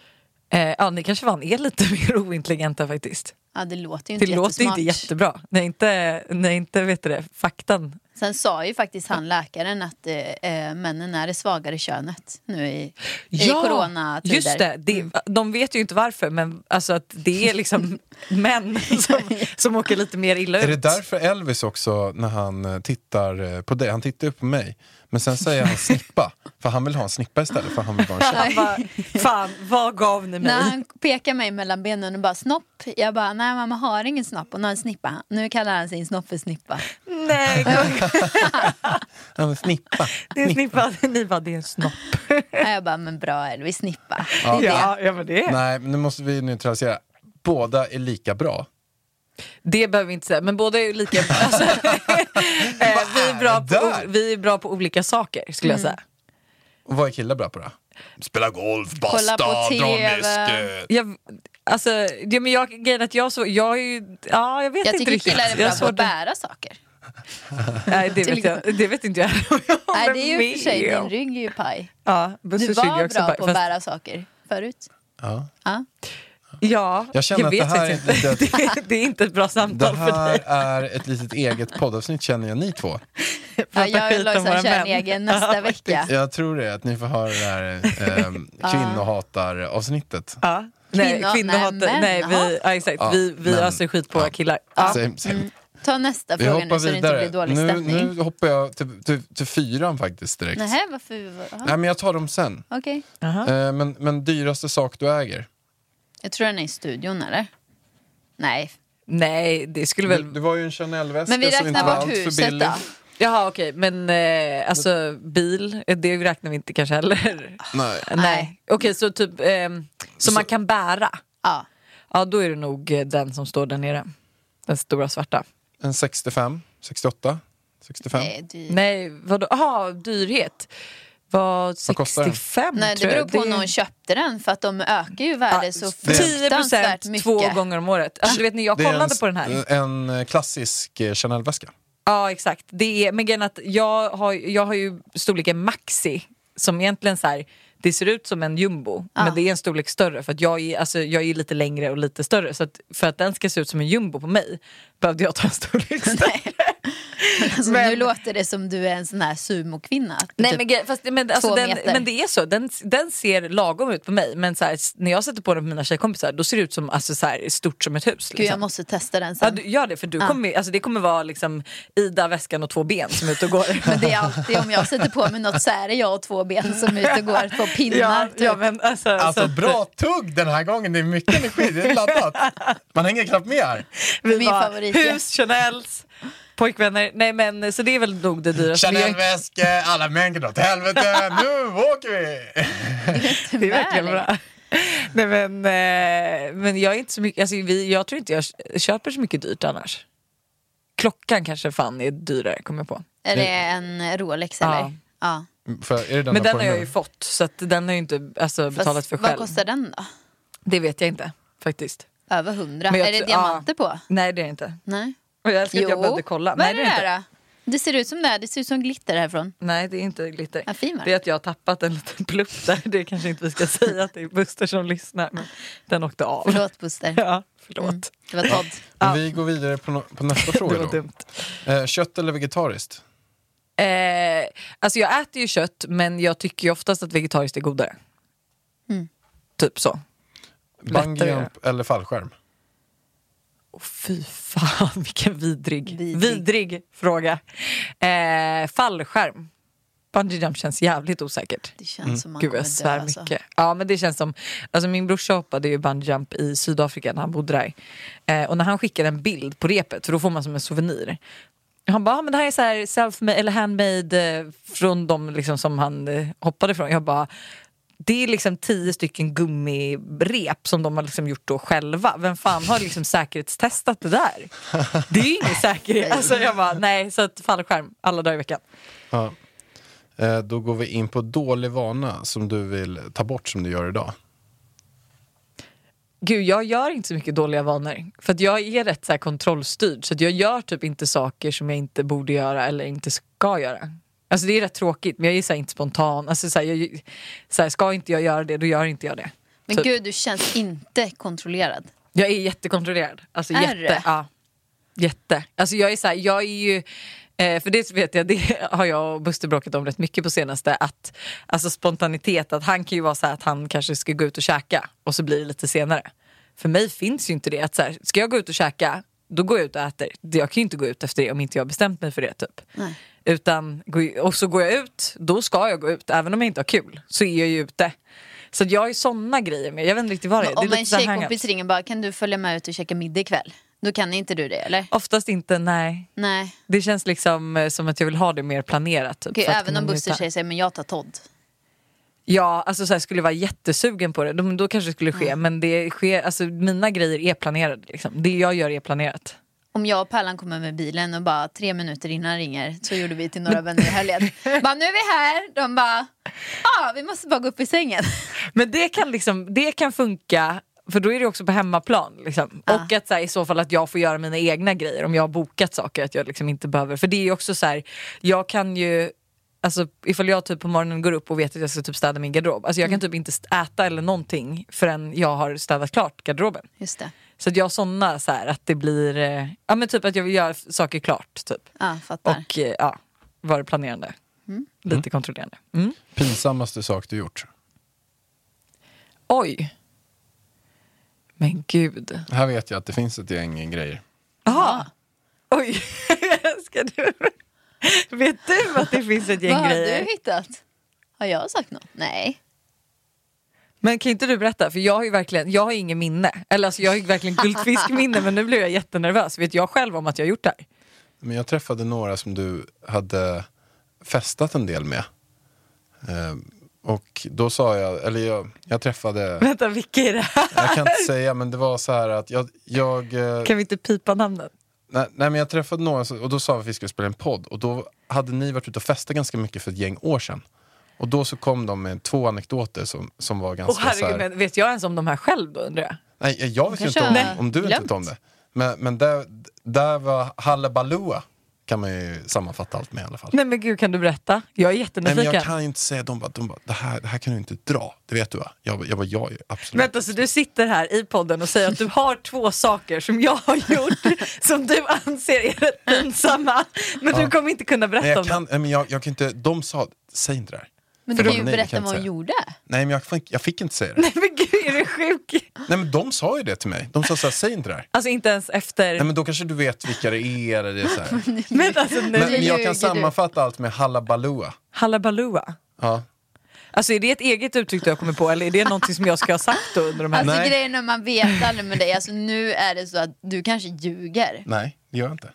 S2: Eh, ja, ni kanske fan är lite mer ointelligenta faktiskt.
S3: Ja, det låter ju
S2: Det
S3: inte
S2: låter
S3: jättesmart.
S2: inte jättebra. När inte, när inte vet du det, faktan.
S3: Sen sa ju faktiskt han läkaren att eh, eh, männen är det svagare könet nu i, i coronatider. Mm.
S2: just det. det De vet ju inte varför men alltså att det är liksom män som, som åker lite mer illa ut.
S4: Är det därför Elvis också, när han eh, tittar eh, på dig, han tittar upp på mig, men sen säger han snippa, för han vill ha en snippa istället för han vill vara en tjej.
S2: Han bara, fan vad gav ni mig?
S3: När han pekar mig mellan benen och bara snopp. Jag bara, nej mamma har ingen snopp. Och nu har han snippa. Nu kallar han sin snopp för snippa.
S2: Nej, gud,
S4: Han vill snippa.
S2: det är snippa. Ni bara, det är en snopp.
S3: Och jag bara, men bra Elvis, snippa. Det är det.
S2: Ja, ja, men det, är-
S4: Nej, men nu måste vi neutralisera. Båda är lika bra.
S2: det behöver vi inte säga, men båda är ju lika bra. Alltså, eh, vi, är bra
S4: det
S2: på,
S4: där?
S2: vi är bra på olika saker skulle
S3: Mm.
S2: jag säga.
S4: Och vad är killar bra på då? Spela golf,
S3: Kolla på basta, dra TV. whisky.
S2: Jag, alltså, det, men jag, grejen är att jag, så, jag är ju, ja jag vet
S3: Jag
S2: inte
S3: tycker
S2: riktigt.
S3: killar är
S2: Jag
S3: bra
S2: har
S3: på
S2: svårt
S3: att bära saker.
S2: Nej, det vet,
S3: Till
S2: jag, det vet inte jag om jag
S3: Nej,
S2: håller
S3: det är ju för
S2: med
S3: sig, din
S2: om.
S3: rygg är ju paj.
S2: Ja,
S3: Du
S2: Busse suger
S3: var
S2: också
S3: bra
S2: bara-
S3: på att
S2: fast-
S3: bära saker förut.
S4: Ja.
S3: Ja.
S2: Ja,
S4: Jag känner att det
S2: vet
S4: här är
S2: faktiskt
S4: ett
S2: inte. Det, det är inte ett bra
S4: Det
S2: samtal för
S4: här
S2: dig.
S4: är ett litet eget poddavsnitt känner jag ni två.
S3: Ja,
S2: Prata
S3: jag och
S2: skit om våra
S3: Lojsan kör en
S2: män.
S3: egen nästa vecka.
S4: Jag tror det, att ni får höra det här eh, kvinnohatar-avsnittet.
S2: Ja. Nej,
S3: Kvinno-
S2: kvinnohat.
S3: nej, män,
S2: Nej, vi,
S3: jaha.
S2: ja, exakt.
S4: Ja,
S2: vi, vi
S4: men-
S2: öser skit på
S4: ja.
S2: killar. Ja.
S4: Same, same.
S3: Ta nästa
S4: Vi
S3: fråga
S4: hoppar
S3: nu Mm, så det inte
S4: vidare.
S3: blir dålig
S4: Nu,
S3: stämning.
S4: nu hoppar jag till, till, till fyran faktiskt direkt.
S3: Nähä, varför?
S4: Nej,
S3: Aha,
S4: men jag tar dem sen.
S3: Okej.
S4: Eh, men, men dyraste sak du äger?
S3: Jag tror den är i studion, eller? Nej.
S2: Nej, det skulle
S4: Du,
S2: väl...
S4: det var ju en Chanel-väska
S3: Men vi
S4: som inte
S3: räknar
S4: var
S3: bort
S4: allt för
S3: huset
S4: billig.
S3: då.
S2: Jaha, okej. Men eh, alltså bil, eh, det räknar vi inte kanske heller.
S4: Nej.
S2: Nej. Okej, så typ eh, som man kan bära.
S3: Ja.
S2: Ja, då är det nog eh, den som står där nere. Den stora svarta.
S3: Mm.
S4: En 65, 68, 65.
S3: Eh, Det är dyrt.
S2: Nej, vadå? Jaha, dyrhet. var
S4: Vad kostar den?
S2: 65
S3: Nej, det
S2: tror
S3: beror
S2: jag.
S3: på när hon köpte den för att de ökar ju värdet så fruktansvärt
S2: 10%
S3: mycket.
S2: två gånger om året. Alltså, du vet när jag
S4: Det är en
S2: kollade
S4: s-
S2: på den här.
S4: En klassisk eh, Chanel-väska.
S2: Ja exakt. Det är, men grejen är att jag har, jag har ju storleken maxi som egentligen så här, det ser ut som en jumbo men det är en storlek större för att jag är, alltså, jag är lite längre och lite större så att för att den ska se ut som en jumbo på mig behövde jag ta en storlek större.
S3: Nej. Alltså, Nu låter det som du är en sån här sumokvinna. Att du
S2: Nej,
S3: typ-
S2: men, gre- fast, men, alltså,
S3: två
S2: den,
S3: meter.
S2: men det är så, den, den ser lagom ut på mig men så här, s- när jag sätter på den på mina tjejkompisar då ser det ut som alltså, så här, stort som ett hus.
S3: Gud,
S2: Liksom.
S3: jag måste testa den
S2: Ja,
S3: sen.
S2: du, gör det för du kommer, ju- alltså, det kommer vara liksom, Ida, väskan och två ben som är ute och går.
S3: Men det är alltid om jag sätter på mig något så är det jag och två ben som är ute och går på pinnar.
S2: ja,
S3: typ.
S2: ja, men, alltså, så
S4: Alltså
S2: att-
S4: bra tugg den här gången, det är mycket energi, det är laddat. Man hänger knappt med här.
S2: Vi
S3: Min
S2: var
S3: favorit, ja.
S2: hus, Chanels, pojkvänner. Nej men så det är väl nog det dyraste. Men jag-
S4: Chanel-väskor, alla mängder åt helvete, nu åker vi!
S2: Det är verkligen bra. Nej men, eh, men jag är inte så mycket, alltså, vi, jag tror inte jag köper så mycket dyrt annars. Klockan kanske fan är dyrare kommer jag på.
S3: Är det en Rolex
S2: Ja.
S3: eller? Ja.
S4: För, är det den
S2: Men
S4: du
S2: den har jag
S4: nu?
S2: ju fått så att den har jag ju inte alltså,
S3: Fast
S2: betalat för
S3: vad
S2: själv.
S3: kostar den då?
S2: Det vet jag inte faktiskt.
S3: Över hundra?
S2: Men jag
S3: Är det
S2: tror-
S3: diamanter
S2: ja.
S3: på?
S2: Nej det är det inte.
S3: Nej.
S2: Och jag älskar att jag behövde kolla.
S3: Vad
S2: Nej,
S3: är det,
S2: är
S3: där då? Det ser ut som det, här. det ser ut som glitter härifrån.
S2: Nej, det är inte glitter.
S3: Ja, fin var
S2: det
S3: den.
S2: är att jag har tappat en liten plupp där. Det kanske inte vi ska säga att det är Buster som lyssnar. Men den åkte av.
S3: Förlåt Buster.
S2: Ja, förlåt.
S3: Mm. Det var Todd.
S4: Vi går vidare på, no- på nästa
S2: Det
S4: fråga
S2: var
S4: då.
S2: dumt.
S4: Eh, Kött eller vegetariskt?
S2: Eh, alltså jag äter ju kött men jag tycker ju oftast att vegetariskt är godare.
S3: Mm.
S2: Typ så. Lättare.
S4: Bungyjump eller fallskärm?
S2: Åh fy fan vilken vidrig,
S3: Vidrig.
S2: vidrig. fråga. Eh, fallskärm. Bungee jump känns jävligt osäkert.
S3: Det känns som man
S2: Mm. Gud
S3: kommer
S2: jag svär
S3: dö alltså.
S2: mycket. Ja men det känns som, alltså min brorsa hoppade ju bungee jump i Sydafrika när han bodde där. Eh, och när han skickade en bild på repet, för då får man som en souvenir. Han bara, ah, men det här är så här self eller handmade eh, från de liksom som han eh, hoppade från. Jag bara, det är liksom tio stycken gummirep som de har liksom gjort då själva. Vem fan har liksom säkerhetstestat det där? Det är ju ingen säkerhet. Alltså jag bara, nej, så att fallskärm alla dagar i veckan.
S4: Ja. Eh, Då går vi in på dålig vana som du vill ta bort som du gör idag.
S2: Gud, jag gör inte så mycket dåliga vanor. För att jag är rätt så här kontrollstyrd. Så att jag gör typ inte saker som jag inte borde göra eller inte ska göra. Alltså det är rätt tråkigt, men jag är så här inte spontan. Alltså så här, jag, så här, ska inte jag göra det, då gör inte jag det.
S3: Men
S2: Typ.
S3: gud, du känns inte kontrollerad.
S2: Jag är jättekontrollerad. Alltså,
S3: Är
S2: jätte,
S3: du?
S2: Ja, jätte. Alltså jag är så här, jag är ju... eh, För det vet jag, det har jag och Buster bråkat om rätt mycket på senaste. Att, alltså spontanitet, att han kan ju vara så här att han kanske ska gå ut och käka och så blir det lite senare. För mig finns ju inte det. Att så här, ska jag gå ut och käka, då går jag ut och äter. Jag kan ju inte gå ut efter det om inte jag har bestämt mig för det. typ. Utan, går ju- och så går jag ut, då ska jag gå ut. Även om jag inte har kul så är jag ju ute. Så att jag har ju såna grejer med. Jag vet inte riktigt vad det är. det är
S3: Om en
S2: lite så här hang-ups.
S3: tjejkompis ringer och bara kan du följa med ut och käka middag ikväll? Då kan inte du det eller?
S2: Oftast inte, nej.
S3: Nej.
S2: Det känns liksom eh, som att jag vill ha det mer planerat. Typ,
S3: Okej,
S2: för att
S3: även
S2: kunna
S3: om Buster
S2: njuta.
S3: säger sig, men jag tar Todd.
S2: Ja, alltså så här, skulle jag vara jättesugen på det, då, då kanske det skulle ske. Men det sker, alltså, mina grejer är planerade. Liksom. Det jag gör är planerat.
S3: Om jag och Pallan kommer med bilen och bara tre minuter innan ringer så gjorde vi till några vänner i helgen. Bara nu är vi här, de bara ja ah, vi måste bara gå upp i sängen.
S2: Men det kan, liksom, det kan funka, för då är det också på hemmaplan. Liksom. Och att så här, i så fall att jag får göra mina egna grejer om jag har bokat saker. Att jag liksom inte behöver, för det är ju också så här, jag kan ju Alltså ifall jag typ på morgonen går upp och vet att jag ska typ städa min garderob. Alltså jag kan typ inte st- äta eller någonting förrän jag har städat klart garderoben.
S3: Just det,
S2: Så att jag har såna så här, att det blir, eh, ja men typ att jag vill göra f- saker klart typ.
S3: ja fattar.
S2: Och eh, ja, vara planerande. Lite kontrollerande. Mm.
S4: Pinsammaste sak du gjort?
S2: Oj. Men gud.
S4: Här vet jag att det finns ett gäng grejer.
S2: Jaha. Oj, ska du? Vet du att det finns ett
S3: Vad
S2: gäng
S3: har
S2: grejer?
S3: du hittat? Har jag sagt något? Nej.
S2: Men kan inte du berätta? För jag har ju verkligen, jag har ingen minne. Eller alltså jag har ju verkligen guldfiskminne men nu blev jag jättenervös. Vet jag själv om att jag har gjort det här?
S4: Men jag träffade några som du hade festat en del med. Eh, Och då sa jag, eller jag, jag träffade,
S2: Vänta, vilka är det här?
S4: jag kan inte säga men det var så här att jag, jag eh,
S2: Kan vi inte pipa namnen?
S4: Nej, nej men jag träffade några som- och då sa vi att vi skulle spela en podd och då hade ni varit ute och festat ganska mycket för ett gäng år sedan. Och då så kom de med två anekdoter som, som var ganska
S2: Och
S4: så här,
S2: herregud, men vet jag ens om de här själv då undrar jag?
S4: Nej, jag vet ju
S3: Kanske
S4: inte om,
S3: har
S4: om du inte
S3: glömt.
S4: vet om det. Men, men där, där var Hallabaloo kan man ju sammanfatta allt med i alla fall.
S2: Nej men gud kan du berätta? Jag är
S4: Nej, men
S2: jättenyfiken.
S4: jag kan ju inte säga, de bara, de bara det, här, det här kan du inte dra, det vet du va? Jag, bara, jag bara, ja, ja, absolut.
S2: Vänta, så du sitter här i podden och säger att du har två saker som jag har gjort som du anser är rätt pinsamma, men du kommer inte kunna berätta
S4: Nej, jag
S2: om
S4: kan, nej, men jag, jag kan inte, de sa, säg inte det här.
S3: Men
S4: För
S3: du kan
S4: de-
S3: ju
S4: nej, det
S3: berätta
S4: jag
S3: vad
S4: inte
S3: hon
S4: säga.
S3: gjorde.
S4: Nej, men jag fick, jag fick inte säga det.
S2: det. Men gud, är du sjuk?
S4: Nej, men de sa ju det till mig. De sa så här, säg inte det här.
S2: Alltså inte ens efter...
S4: Nej, men då kanske du vet vilka det är. Eller det är så här. Men,
S2: Men alltså nu,
S4: men jag
S3: ljuger
S4: kan
S3: du.
S4: sammanfatta allt med Hallabalooa.
S2: Hallabalooa.
S4: Ja.
S2: Alltså är det ett eget uttryck du har kommit på eller är det någonting som jag ska ha sagt då under de här...
S3: Alltså
S4: Nej.
S3: grejen när man vet aldrig med dig, alltså, nu är det så att du kanske ljuger.
S4: Nej, det gör jag inte.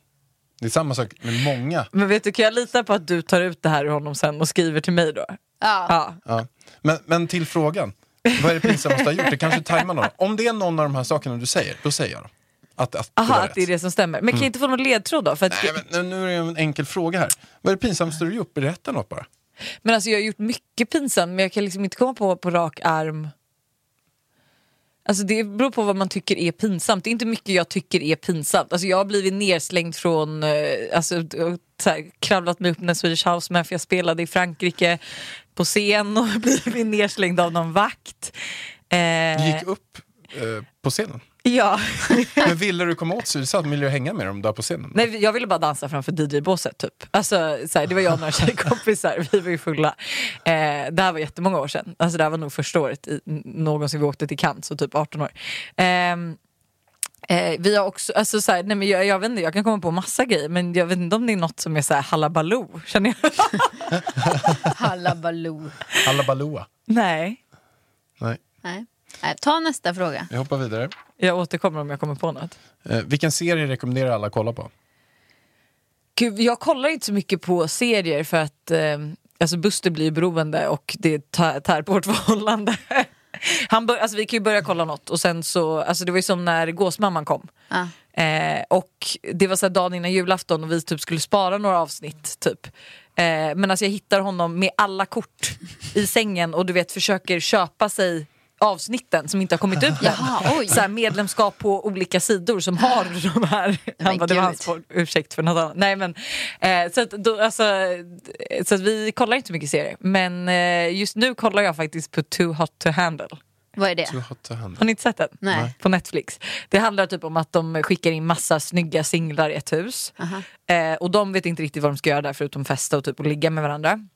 S4: Det är samma sak med många.
S2: Men vet du, kan jag lita på att du tar ut det här ur honom sen och skriver till mig då?
S3: Ja.
S2: Ja.
S4: Ja. Men, men till frågan. Vad är det pinsammaste du har gjort? Det kanske tajmar någon. Om det är någon av de här sakerna du säger, då säger jag dem. Att, att,
S2: Aha,
S4: var
S2: att det är
S4: rätt.
S2: det som stämmer. Men kan jag inte få någon ledtråd då? För att,
S4: Mm. Nej, men nu är det en enkel fråga här. Vad är det pinsammaste du har gjort? Berätta något bara.
S2: Men alltså jag har gjort mycket pinsamt men jag kan liksom inte komma på på rak arm. Alltså det beror på vad man tycker är pinsamt. Det är inte mycket jag tycker är pinsamt. Alltså jag har blivit nerslängd från, eh, alltså och så här, kravlat mig upp när Swedish House Mafia spelade i Frankrike på scen och blivit nerslängd av någon vakt.
S4: Du
S2: Eh,
S4: gick upp eh, på scenen.
S2: Ja.
S4: Men ville du komma åt Suicide? Ville du hänga med dem där på scenen?
S2: Nej, jag ville bara dansa framför DJ-båset typ. Alltså, så här, det var jag och några tjejkompisar, vi var ju fulla. Eh, det här var jättemånga år sedan, alltså, det här var nog första året i, n- någonsin vi åkte till Cannes, så typ 18 år. Ehm, Eh, vi har också, alltså så här, nej men jag, jag vet inte, jag kan komma på massa grejer men jag vet inte om det är något som är så här hallabaloo, känner jag.
S3: Hallabaloo.
S4: Hallabalooa.
S2: nej,
S4: Nej,
S3: Nej. Nej, ta nästa fråga.
S4: vi hoppar vidare.
S2: jag återkommer om jag kommer på något.
S4: Eh, vilken serie rekommenderar alla att kolla på?
S2: Gud, jag kollar inte så mycket på serier för att eh, alltså Buster blir beroende och det tär, tär på vårt förhållande. Han bör, alltså vi kan ju börja kolla något och sen så, alltså det var ju som när Gåsmamman kom.
S3: Ja.
S2: Eh, och det var så här dagen innan julafton och vi typ skulle spara några avsnitt typ. Eh, men alltså jag hittar honom med alla kort i sängen och du vet försöker köpa sig avsnitten som inte har kommit ut än.
S3: Jaha, oj.
S2: Så här, medlemskap på olika sidor som har de här. Han
S3: Men
S2: bara, det var
S3: gud.
S2: hans for- ursäkt för något annat. Nej, men, eh, så att då, alltså, eh, så att vi kollar inte så mycket serier. Men eh, just nu kollar jag faktiskt på Too Hot To Handle.
S3: Vad är det?
S4: Du har ta hand.
S2: Har ni inte sett den?
S3: Nej.
S2: På Netflix. Det handlar typ om att de skickar in massa snygga singlar i ett hus. Eh, och de vet inte riktigt vad de ska göra där förutom festa och typ och ligga med varandra.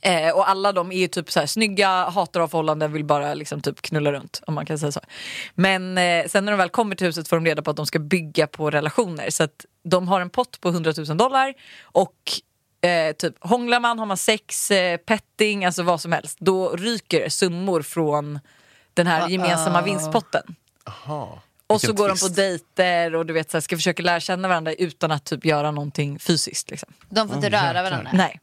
S2: Eh, och alla de är ju typ så här, snygga, hatar av förhållanden, vill bara liksom typ knulla runt. Om man kan säga så. Men eh, sen när de väl kommer till huset får de reda på att de ska bygga på relationer. Så att de har en pott på 100 000 dollar och eh, typ hånglar man, har man sex, eh, petting, alltså vad som helst. Då ryker summor från den här gemensamma vinstpotten.
S4: Aha.
S2: Och så
S4: Vilken
S2: går de på
S4: twist.
S2: dejter och du vet så här, ska försöka lära känna varandra utan att typ göra någonting fysiskt. Liksom.
S3: De får inte röra varandra.
S2: Nej.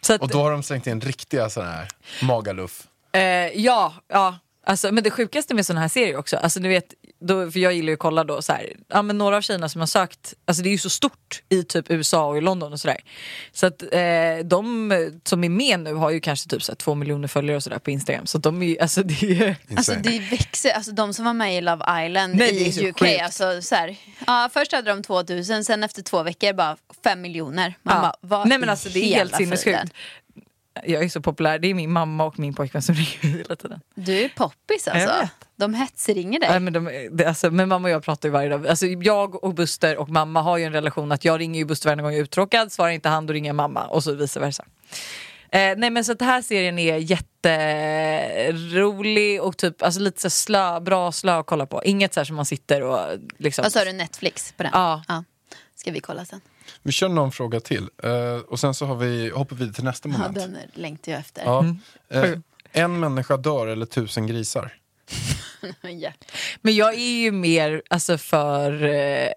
S2: Så att,
S4: Och då har de slängt in riktiga sådana här Magaluf.
S2: eh, ja, ja. Alltså, men det sjukaste med sådana här serier också, alltså, du vet, då, för jag gillar ju att kolla då så här, ja, men några av tjejerna som har sökt, alltså det är ju så stort i typ USA och i London och sådär. Så att eh, de eh, som är med nu har ju kanske typ så här, två miljoner följare och sådär på Instagram. Så att de är ju, alltså det är ju...
S3: Alltså
S4: Insane.
S3: det växer, alltså de som var med i Love Island
S2: Nej, det är så
S3: i UK,
S2: sjukt.
S3: alltså så här, ja, först hade de 2000, sen efter två veckor bara 5 miljoner. Man
S2: Ja.
S3: bara, vad
S2: Nej men
S3: i
S2: alltså det är helt
S3: hela friden?
S2: sinnessjukt. Jag är så populär, det är min mamma och min pojkvän som ringer hela tiden.
S3: Du är poppis
S2: Jag
S3: alltså.
S2: vet.
S3: De hetsringer dig.
S2: Nej, men, de, det, alltså, men mamma och jag pratar ju varje dag. Alltså, jag och Buster och mamma har ju en relation att jag ringer ju Buster varje gång jag är uttråkad, svarar inte han då ringer jag mamma och så vice versa. Eh, nej men så att den här serien är jätterolig och typ alltså, lite så slö, bra slö att kolla på. Inget så här som man sitter och liksom...
S3: Vad sa du, Netflix på den?
S2: Ja.
S3: Ska vi kolla sen?
S4: Vi kör någon fråga till. Eh, och sen så har vi, hoppar vi till nästa
S3: Ja,
S4: moment.
S3: den längtar jag efter.
S4: Ja.
S2: Mm.
S4: Eh, en människa dör eller tusen grisar.
S3: Ja.
S2: Men jag är ju mer alltså, för... Eh,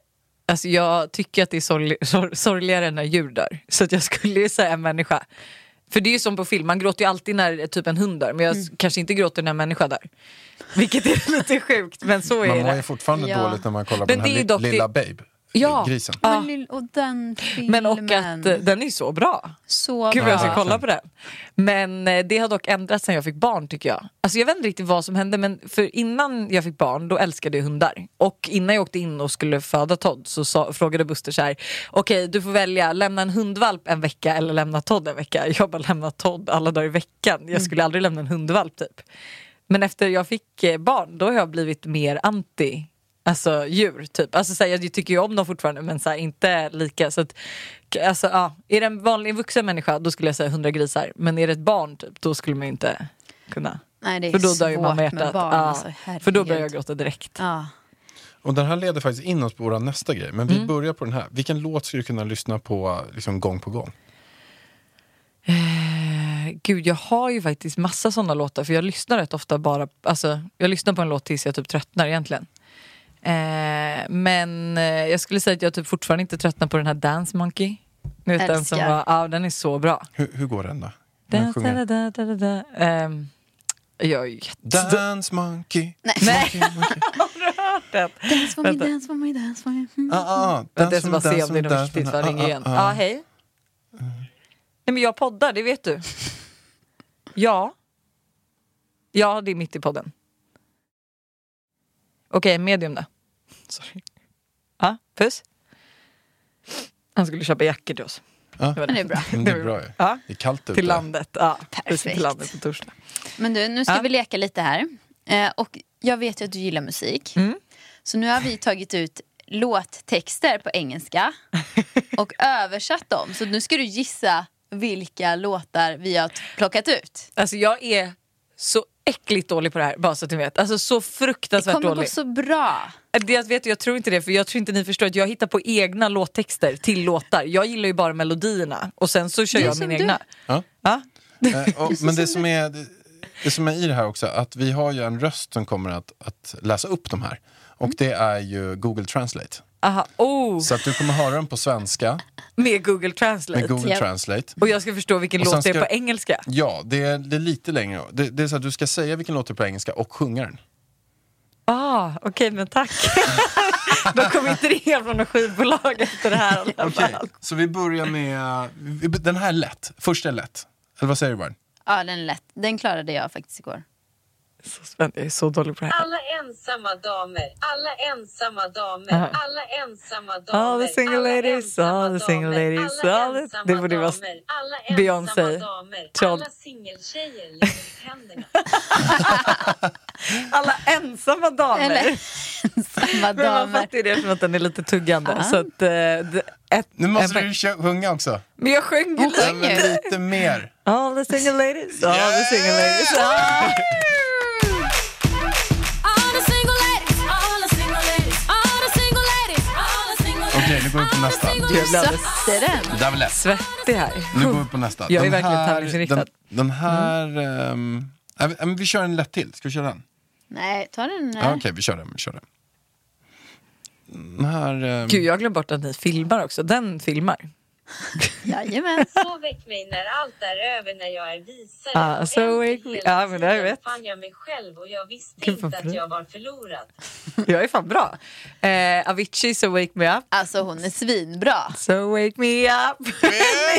S2: alltså, jag tycker att det är sorgli- sor- sorgligare när djur dör. Så att jag skulle ju säga en människa. För det är ju som på film, man gråter ju alltid när typ en hund dör. Men jag s- kanske inte gråter när en människa dör. Vilket är lite sjukt, men så är
S4: Man mår
S2: det.
S4: ju fortfarande
S3: Ja.
S4: dåligt när man kollar
S2: Men
S4: på
S2: det är
S4: den här
S2: dock-
S4: li- lilla
S2: det-
S4: Babe.
S2: Ja.
S4: grisen.
S2: Ja.
S3: Men lill- Och den filmen.
S2: Ah. Men och att eh, den är så bra.
S3: Så
S2: Gud vad
S3: bra.
S2: jag ska kolla på den. Men eh, det har dock ändrats sen jag fick barn tycker jag. Alltså jag vet inte riktigt vad som hände men för innan jag fick barn då älskade jag hundar. Och innan jag åkte in och skulle föda Todd så sa, frågade Buster så här: okej du får välja lämna en hundvalp en vecka eller lämna Todd en vecka. Jag bara lämna Todd alla dagar i veckan. Jag skulle aldrig lämna en hundvalp typ. Men efter jag fick eh, barn då har jag blivit mer anti Alltså djur typ. Alltså, så här, jag tycker ju om dem fortfarande men så här, inte lika. Så att, k- alltså, ja. Är det en vanlig vuxen människa då skulle jag säga 100 grisar. Men är det ett barn typ, då skulle man ju inte kunna.
S3: Nej, det är
S2: För då dör
S3: svårt
S2: ju mamma
S3: med
S2: hjärtat.
S3: barn.
S2: ja.
S3: Alltså,
S2: För då
S3: herregud. Ah.
S2: börjar jag gråta direkt.
S3: Ja.
S4: Och den här leder faktiskt in oss på vår nästa grej. Men vi
S2: Mm.
S4: börjar på den här. Vilken låt skulle du kunna lyssna på liksom, gång på gång?
S2: Eh, Gud jag har ju faktiskt massa sådana låtar för jag lyssnar rätt ofta bara, alltså jag lyssnar på en låt tills jag typ tröttnar egentligen. Eh, men eh, jag skulle säga att jag typ fortfarande inte tröttnar på den här Dance Monkey. Ni vet den som
S3: Älskar.
S2: var, ja den är så bra.
S4: Hur, hur går den då? Den
S2: Da,
S4: sjunger.
S2: da, da, da, da, da. Ehm, jag är ju jätte...
S4: Dance monkey,
S2: Nej,
S4: monkey, monkey.
S3: Dance for me,
S2: Vänta.
S3: dance for me, dance for me. Mm.
S4: Ah, ah, ah.
S2: vänta
S4: Dance
S2: jag ska bara
S4: monkey,
S2: se om det är
S4: dance
S2: något viktigt.
S4: monkey.
S2: Vad ringer igen? Ja,
S4: Ah, ah, ah.
S2: hej. Nej men jag poddar, det vet du. Ja. Ja, det är mitt i podden. Okej, medium då. Sorry. Ja, puss. Han skulle köpa jackor till oss.
S4: Ja.
S2: var
S3: Men det är bra.
S4: Men Det är bra ju.
S2: Ja.
S4: Det är kallt ute.
S2: Till landet, ja. Precis,
S3: Perfekt.
S2: till landet på torsdag.
S3: Men du, nu ska
S2: Ja.
S3: vi leka lite här. Eh, och jag vet ju att du gillar musik.
S2: Mm.
S3: Så nu har vi tagit ut låttexter på engelska och översatt dem. Så nu ska du gissa vilka låtar vi har t- plockat ut.
S2: Alltså jag är så äckligt dålig på det här, bara så att ni vet. Alltså så
S3: Det
S2: fruktansvärt
S3: kommer gå
S2: dålig.
S3: så bra.
S2: Det jag vet jag tror inte det för jag tror inte ni förstår att jag hittar på egna låttexter till låtar. Jag gillar ju bara melodierna och sen så kör
S3: Det är
S2: jag
S3: som
S2: mina
S3: du.
S2: egna.
S4: Ja.
S2: Ja.
S4: Eh, och, men det som, är, det, det som är i det här också, att vi har ju en röst som kommer att, att läsa upp de här. Och det är ju Google Translate.
S2: Aha. Oh,
S4: Så att du kommer höra dem på svenska
S2: med Google Translate.
S4: med Google
S3: Ja.
S4: Translate.
S2: Och jag ska förstå vilken
S4: Och sen
S2: låt det är
S4: ska-
S2: på engelska.
S4: Ja, det är, det är lite längre. Det, det är så att du ska säga vilken låt det är på engelska och sjunga den.
S2: Ah, Okej men tack. De kom inte in från något skivbolag efter det här i alla fall. Alltså,
S4: Så vi börjar med... vi- Den här är lätt. Första är lätt. Eller vad säger du, Barn?
S3: Ja, den är lätt. Den klarade jag faktiskt igår.
S2: Så spänd, jag är så dålig på det här.
S6: Alla ensamma damer, alla ensamma damer,
S2: Aha.
S6: alla ensamma damer.
S2: All the single
S6: alla
S2: ladies,
S6: ensamma
S2: all the single
S6: damer,
S2: ladies,
S6: alla
S2: all the-
S6: ensamma
S2: Det borde vara
S6: damer, alla ensamma
S2: Beyoncé,
S6: damer,
S2: Child.
S6: Alla singeltjejer lever i händerna.
S2: Alla ensamma damer.
S3: Eller ensamma
S2: Men man
S3: damer.
S2: fattar ju det eftersom att den är lite tuggande. Så att, eh, det- ett,
S4: Nu måste
S2: en-
S4: du kö- sjunga också.
S2: Men jag sjöng ju lite.
S4: Ja, men lite mer.
S2: All the single ladies, all the single ladies. Ah!
S4: Okej, nu går vi på nästa.
S2: Jag blir alldeles
S3: Satte den.
S4: Det där var lätt.
S2: svettig här.
S4: Nu går vi på nästa.
S2: Jag är verkligen tävlingsinriktad.
S4: Den, den här... ehm, ja, men- ja, men vi kör en lätt till. Ska vi köra den?
S3: Nej, ta den. eh,
S4: Ja, Okej,
S3: här.
S4: vi kör den. Vi kör den. den här... ehm,
S2: Gud, jag glömde bort att ni filmar också. Den filmar.
S3: Jajamän.
S6: Så väck mig när allt är över, när jag är visare.
S2: Ah,
S6: Och
S2: så
S6: ändå
S2: väck mig-
S6: hela
S2: ja, men det har jag
S6: tiden
S2: rätt.
S6: fann jag mig själv och jag visste
S2: Gud, vad
S6: inte
S2: bra.
S6: att jag var förlorad.
S2: Jag är fan bra. Eh, Avicii, So Wake Me Up.
S3: Alltså hon är svinbra.
S2: So Wake Me Up.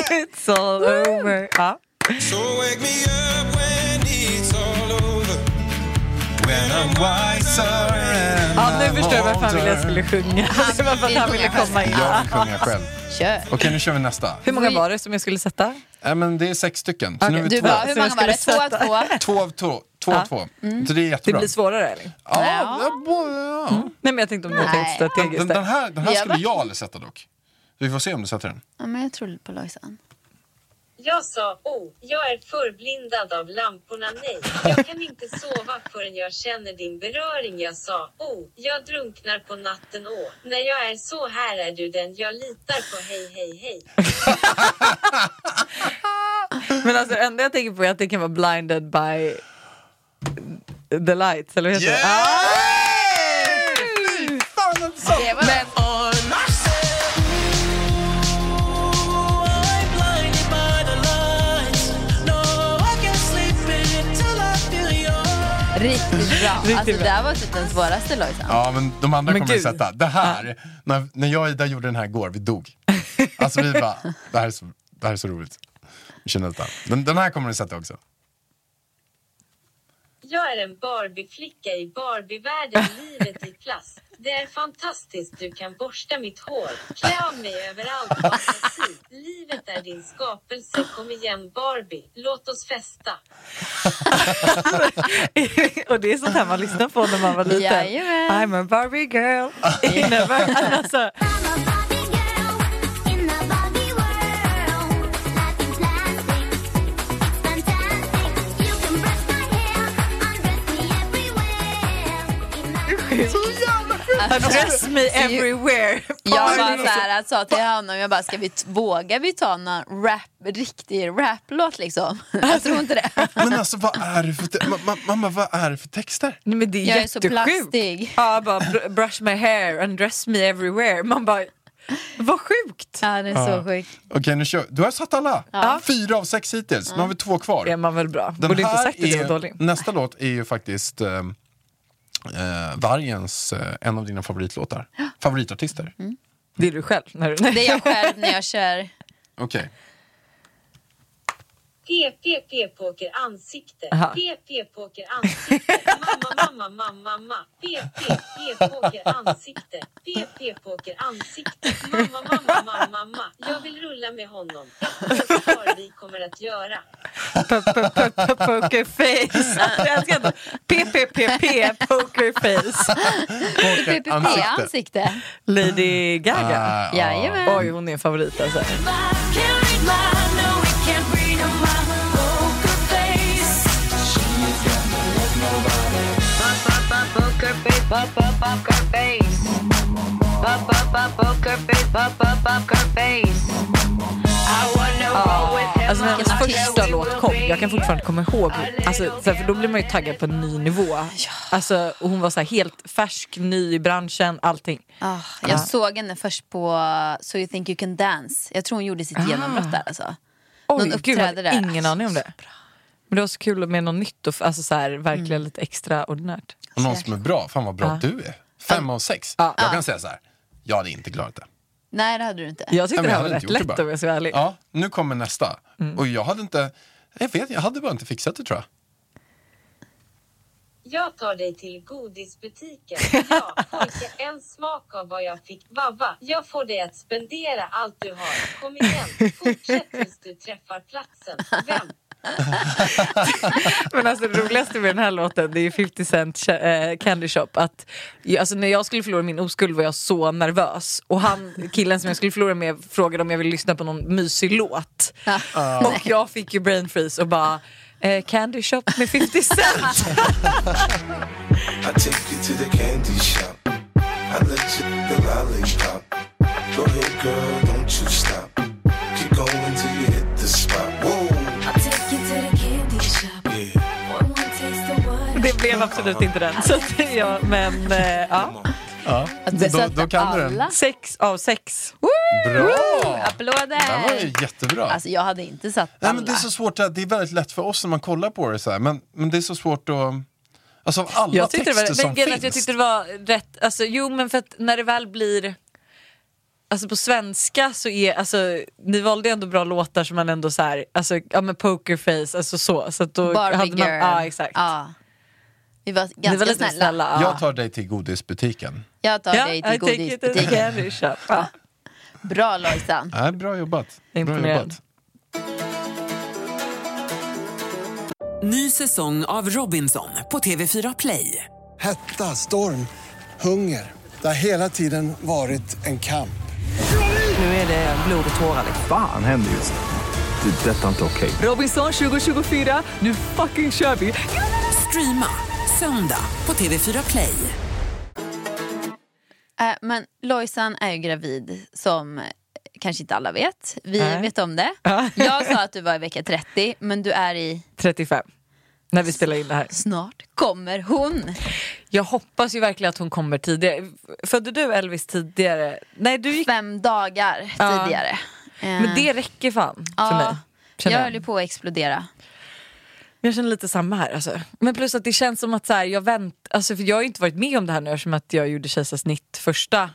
S2: It's all over. Ja.
S7: So wake me up when it's all over. When I'm
S4: wiser and
S2: ja, nu förstår jag varför han ville jag
S4: older.
S2: skulle sjunga. Det var för att han ville komma in.
S4: Jag vill sjunga själv.
S3: Kör.
S4: Okej, nu kör vi nästa.
S2: Hur många var det som jag skulle sätta?
S4: Nej, men det är sex stycken. Så nu är vi
S3: Du
S4: två.
S3: bara, hur
S2: Så jag
S3: många var det? Två
S2: skulle
S3: av
S2: sätta-
S3: två?
S4: Två av två. Två, av två.
S2: Ah. Mm.
S4: Så det är
S2: Det
S4: jättebra.
S2: blir Mm. svårare eller?
S4: ja,
S3: Ja.
S4: det är bra, ja.
S2: Nej men jag tänkte om ni har tänkt
S3: Nej.
S2: strategiskt
S4: Den,
S2: där.
S4: den här, den här
S3: Vi har
S4: skulle
S3: varit-
S4: jag aldrig sätta dock. Vi får se om du sätter den.
S3: Ja, men jag tror på Lojsan.
S6: Jag sa, oh, jag är förblindad av lamporna, nej. Jag kan inte sova förrän jag känner din beröring. Jag sa, oh, jag drunknar på natten, åh. När jag är så här är du den jag litar på, hej, hej, hej.
S2: Men alltså det enda jag tänker på är att det kan vara blinded by the lights eller vad heter det? Ah!
S3: Det var men, Riktigt bra.
S2: Riktigt
S3: alltså,
S2: bra.
S3: Det här var typ den svåraste Lojsan.
S4: Ja, men de andra
S2: Men
S4: kommer
S2: gud.
S4: att sätta. Det här, när, när jag och Ida gjorde den här igår, vi dog. Alltså vi bara, det här är så, det här är så roligt. Vi känner detta. Den, den här kommer ni sätta också.
S6: Jag är en Barbieflicka i Barbievärlden, livet i plast. Det är fantastiskt, du kan borsta mitt hår, klä av mig överallt, fantasi. Livet är din skapelse, kom igen Barbie, låt oss festa.
S2: Ah! och det är sånt här man lyssnar på när man var liten.
S3: Jajamän.
S2: I'm a Barbie girl. Innebär, alltså, address me everywhere.
S3: Jag Alltså, bara så här, jag sa till honom, jag bara, ska vi t- vågar vi ta någon rap, riktig raplåt liksom? Jag tror inte det.
S4: Men alltså vad är det för, te- ma- ma- mamma vad är det för texter?
S2: Nej, men det är
S3: Jag är så
S2: jättesjukt.
S3: plastig.
S2: Ja, bara br- brush my hair and dress me everywhere. Man bara, vad sjukt.
S3: Ja, den är så sjuk.
S4: Okej, nu kör Du har satt alla. Fyra av sex hittills. Nu har vi två kvar.
S2: Är man väl bra?
S4: Den
S2: Borde inte
S4: här
S2: sagt att jag
S4: är-
S2: var dålig.
S4: Nästa låt är ju faktiskt eh, eh, Vargens, eh, en av dina favoritlåtar. Favoritartister.
S2: Mm. Det är du själv. När du, nej.
S3: Det är jag själv när jag kör.
S4: Okej.
S6: PP-poker ansikte. PP-poker ansikte. Mamma, mamma, mamma, mamma. PP-poker ansikte. PP-poker ansikte. Mamma, mamma, mamma, mamma. Jag vill rulla med honom. Ett svar vi kommer att göra.
S2: Pokerface. Jag älskar det. PPPP pokerface.
S3: PPP
S4: Ansikte.
S3: typ ansikte.
S2: Lady Gaga.
S4: Ah, ja.
S3: Jajamän.
S2: Oj, hon är en favorit alltså. Alltså när hennes första låt kom, jag kan fortfarande komma ihåg, alltså, så här, för då blir man ju taggad på en ny nivå. Alltså, och hon var så här, helt färsk, ny i branschen, allting.
S3: Ah, jag såg henne först på So you think you can dance. Jag tror hon gjorde sitt genombrott där alltså.
S2: Oj,
S3: Någon
S2: gud, jag
S3: uppträdde
S2: hade
S3: där. Alltså,
S2: ingen aning om det. Men det var så kul med något nytt, och, f- alltså så här,
S3: Mm.
S2: verkligen lite extraordinärt.
S4: Och någon som är bra. Fan vad bra du är. Fem av sex. Jag kan säga så här. Jag hade inte klarat det.
S3: Nej det hade du inte.
S2: Jag tyckte
S4: Nej, men
S2: det
S4: jag
S2: här var
S4: hade inte
S2: rätt
S4: gjort det
S2: lätt
S4: bara.
S2: om jag ska vara ärlig. Mm.
S4: Ja, nu kommer nästa. Och jag hade inte... Jag vet, jag hade bara inte fixat det tror jag.
S6: Jag tar dig till godisbutiken. Ja, pojke, en smak av vad jag fick. Vava, jag får dig att spendera allt du har. Kom igen, fortsätt tills du träffar platsen. Vem?
S2: Men alltså det roligaste med den här låten det är ju 50 Cent eh, Candy Shop. Att, ja, alltså, när jag skulle förlora min oskuld var jag så nervös. Och han, killen som jag skulle förlora med frågade om jag ville lyssna på någon mysig låt. Och jag fick ju brain freeze och bara eh, Candy Shop med 50 Cent.
S7: I take you to the candy shop. I let you the lollipop. Go ahead, girl, don't you stop. Keep going till you hit the spot. Whoa, yeah.
S2: Det blev absolut inte den. Så att, ja, men eh, ja.
S3: Att du
S4: Då-
S3: satte
S4: då kan du den.
S3: alla.
S2: sex av sex.
S4: Bra! Det var ju
S3: Applåder!
S4: jättebra.
S3: Alltså jag hade inte satt alla.
S4: Nej, men det är så svårt, att- det är väldigt lätt för oss när man kollar på det så här. Men, men det är så svårt att... Alltså av alla
S2: Jag tyckte,
S4: texter
S2: det var,
S4: som
S2: men grejen är
S4: finns.
S2: att jag tyckte det var rätt, alltså, jo men för att när det väl blir Alltså på svenska så är, alltså ni valde ju ändå bra låtar som man ändå så här, alltså ja men pokerface, alltså så. så att då
S3: Barbie
S2: hade man,
S3: girl.
S2: Ja exakt.
S3: Ja. Vi var ganska
S2: Ni var lite
S3: snälla.
S2: snälla. ja.
S4: Jag tar dig till godisbutiken.
S3: Jag tar
S2: Ja,
S3: dig
S2: I
S3: till
S2: take it as a
S3: godisbutiken.
S2: candy shop. Ja.
S3: Bra Lojsan.
S4: Nej, bra jobbat. Bra
S2: Imponerad.
S4: jobbat.
S8: Ny säsong av Robinson på TV4 Play.
S9: Hetta, storm, hunger. Det har hela tiden varit en kamp.
S8: Nu är det blod och tårar. liksom.
S10: Fan händer just nu. Det. är Detta är inte okej.
S8: Robinson 2024, nu fucking kör vi! Streama söndag på TV4 Play.
S3: Eh, Men Lojsan är ju gravid som eh, kanske inte alla vet. Vi
S2: Nej.
S3: vet om det. Jag sa att du var i vecka 30 men du är i
S2: 35. När vi spelar in det här.
S3: snart kommer hon.
S2: Jag hoppas ju verkligen att hon kommer tidigare. Födde du Elvis tidigare? Nej du gick,
S3: Fem dagar
S2: Ja.
S3: tidigare. Eh,
S2: men det räcker fan för
S3: ja.
S2: mig. känner
S3: Jag höll ju på att explodera.
S2: Men jag känner lite samma här alltså. Men plus att det känns som att så här, jag vänt, alltså, för jag har ju inte varit med om det här nu eftersom att jag gjorde kejsarsnitt första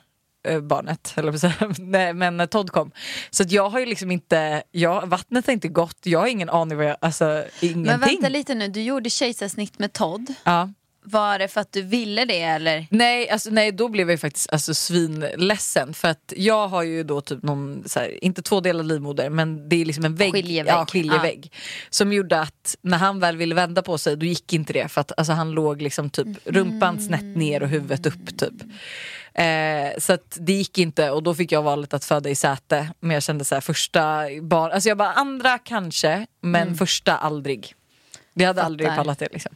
S2: eh, barnet, eller vad säger jag? Nej, men när Todd kom. Så att jag har ju liksom inte, jag, vattnet har inte gått, jag har ingen aning vad jag, alltså ingenting.
S3: Men vänta lite nu, du gjorde kejsarsnitt med Todd.
S2: Ja.
S3: Var det för att du ville det eller?
S2: Nej, alltså, nej, då blev jag ju faktiskt alltså, svinledsen för att jag har ju då typ någon, så här, inte tvådelad livmoder men det är liksom en vägg,
S3: Skiljevägg.
S2: Ja, skiljevägg som gjorde att när han väl ville vända på sig då gick inte det för att alltså, han låg liksom
S3: Mm.
S2: typ rumpan snett ner och huvudet upp typ. Eh, så att det gick inte och då fick jag valet att föda i säte men jag kände så här första barn, alltså jag bara andra kanske men första aldrig. Vi hade
S3: Mm. Fattar.
S2: aldrig pallat det. Liksom.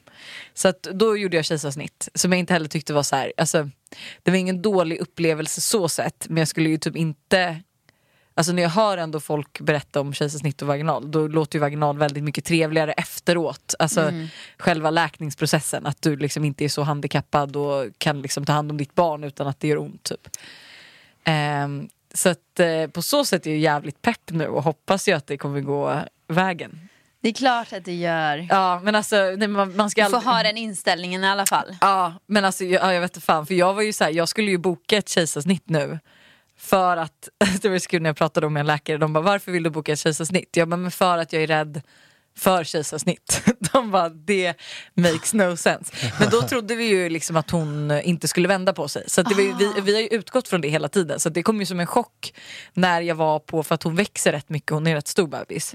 S2: Så att då gjorde jag kejsarsnitt som jag inte heller tyckte var så här. Alltså, det var ingen dålig upplevelse så sett men jag skulle ju typ inte Alltså när jag hör ändå folk berätta om kejsarsnitt och vaginal då låter ju vaginal väldigt mycket trevligare efteråt. Alltså
S3: Mm.
S2: själva läkningsprocessen, att du liksom inte är så handikappad och kan liksom ta hand om ditt barn utan att det gör ont. Typ. Ehm, så att eh, på så sätt är jag jävligt pepp nu och hoppas ju att det kommer gå vägen.
S3: Det är klart att du gör.
S2: Ja men alltså nej, man, man ska
S3: Du får
S2: aldrig...
S3: ha den inställningen i alla fall.
S2: Ja men alltså jag, ja, jag vet inte fan för jag var ju så här, jag skulle ju boka ett kejsarsnitt nu. För att, det var så kul när jag pratade om med en läkare, de bara varför vill du boka ett kejsarsnitt? Jag bara men för att jag är rädd för kejsarsnitt. De bara det makes no sense. Men då trodde vi ju liksom att hon inte skulle vända på sig. Så att det var ju, vi, vi har ju utgått från det hela tiden. Så att det kom ju som en chock när jag var på, för att hon växer rätt mycket, hon är en rätt stor bebis.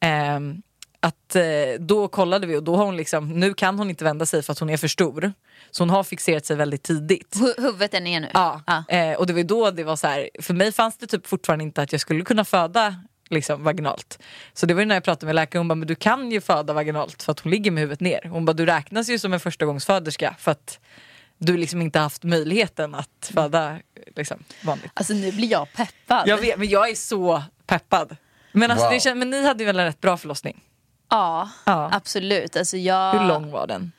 S2: Ehm, att eh, då kollade vi och då har hon liksom, nu kan hon inte vända sig för att hon är för stor. Så hon har fixerat sig väldigt tidigt.
S3: Hu- Huvudet är ner nu.
S2: Ja.
S3: Ja.
S2: Eh, och det var ju då det var så här, för mig fanns det typ fortfarande inte att jag skulle kunna föda liksom, vaginalt. Så det var ju när jag pratade med läkaren, hon bara, men du kan ju föda vaginalt för att hon ligger med huvudet ner. Hon bara, du räknas ju som en förstagångsföderska för att du liksom inte haft möjligheten att föda liksom, vanligt.
S3: Alltså nu blir jag peppad.
S2: Jag vet, men jag är så peppad. Men, alltså,
S4: Wow.
S2: det kän- men ni hade ju väl en rätt bra förlossning?
S3: Ja,
S2: Ja.
S3: absolut. Alltså jag,
S2: Hur lång var den?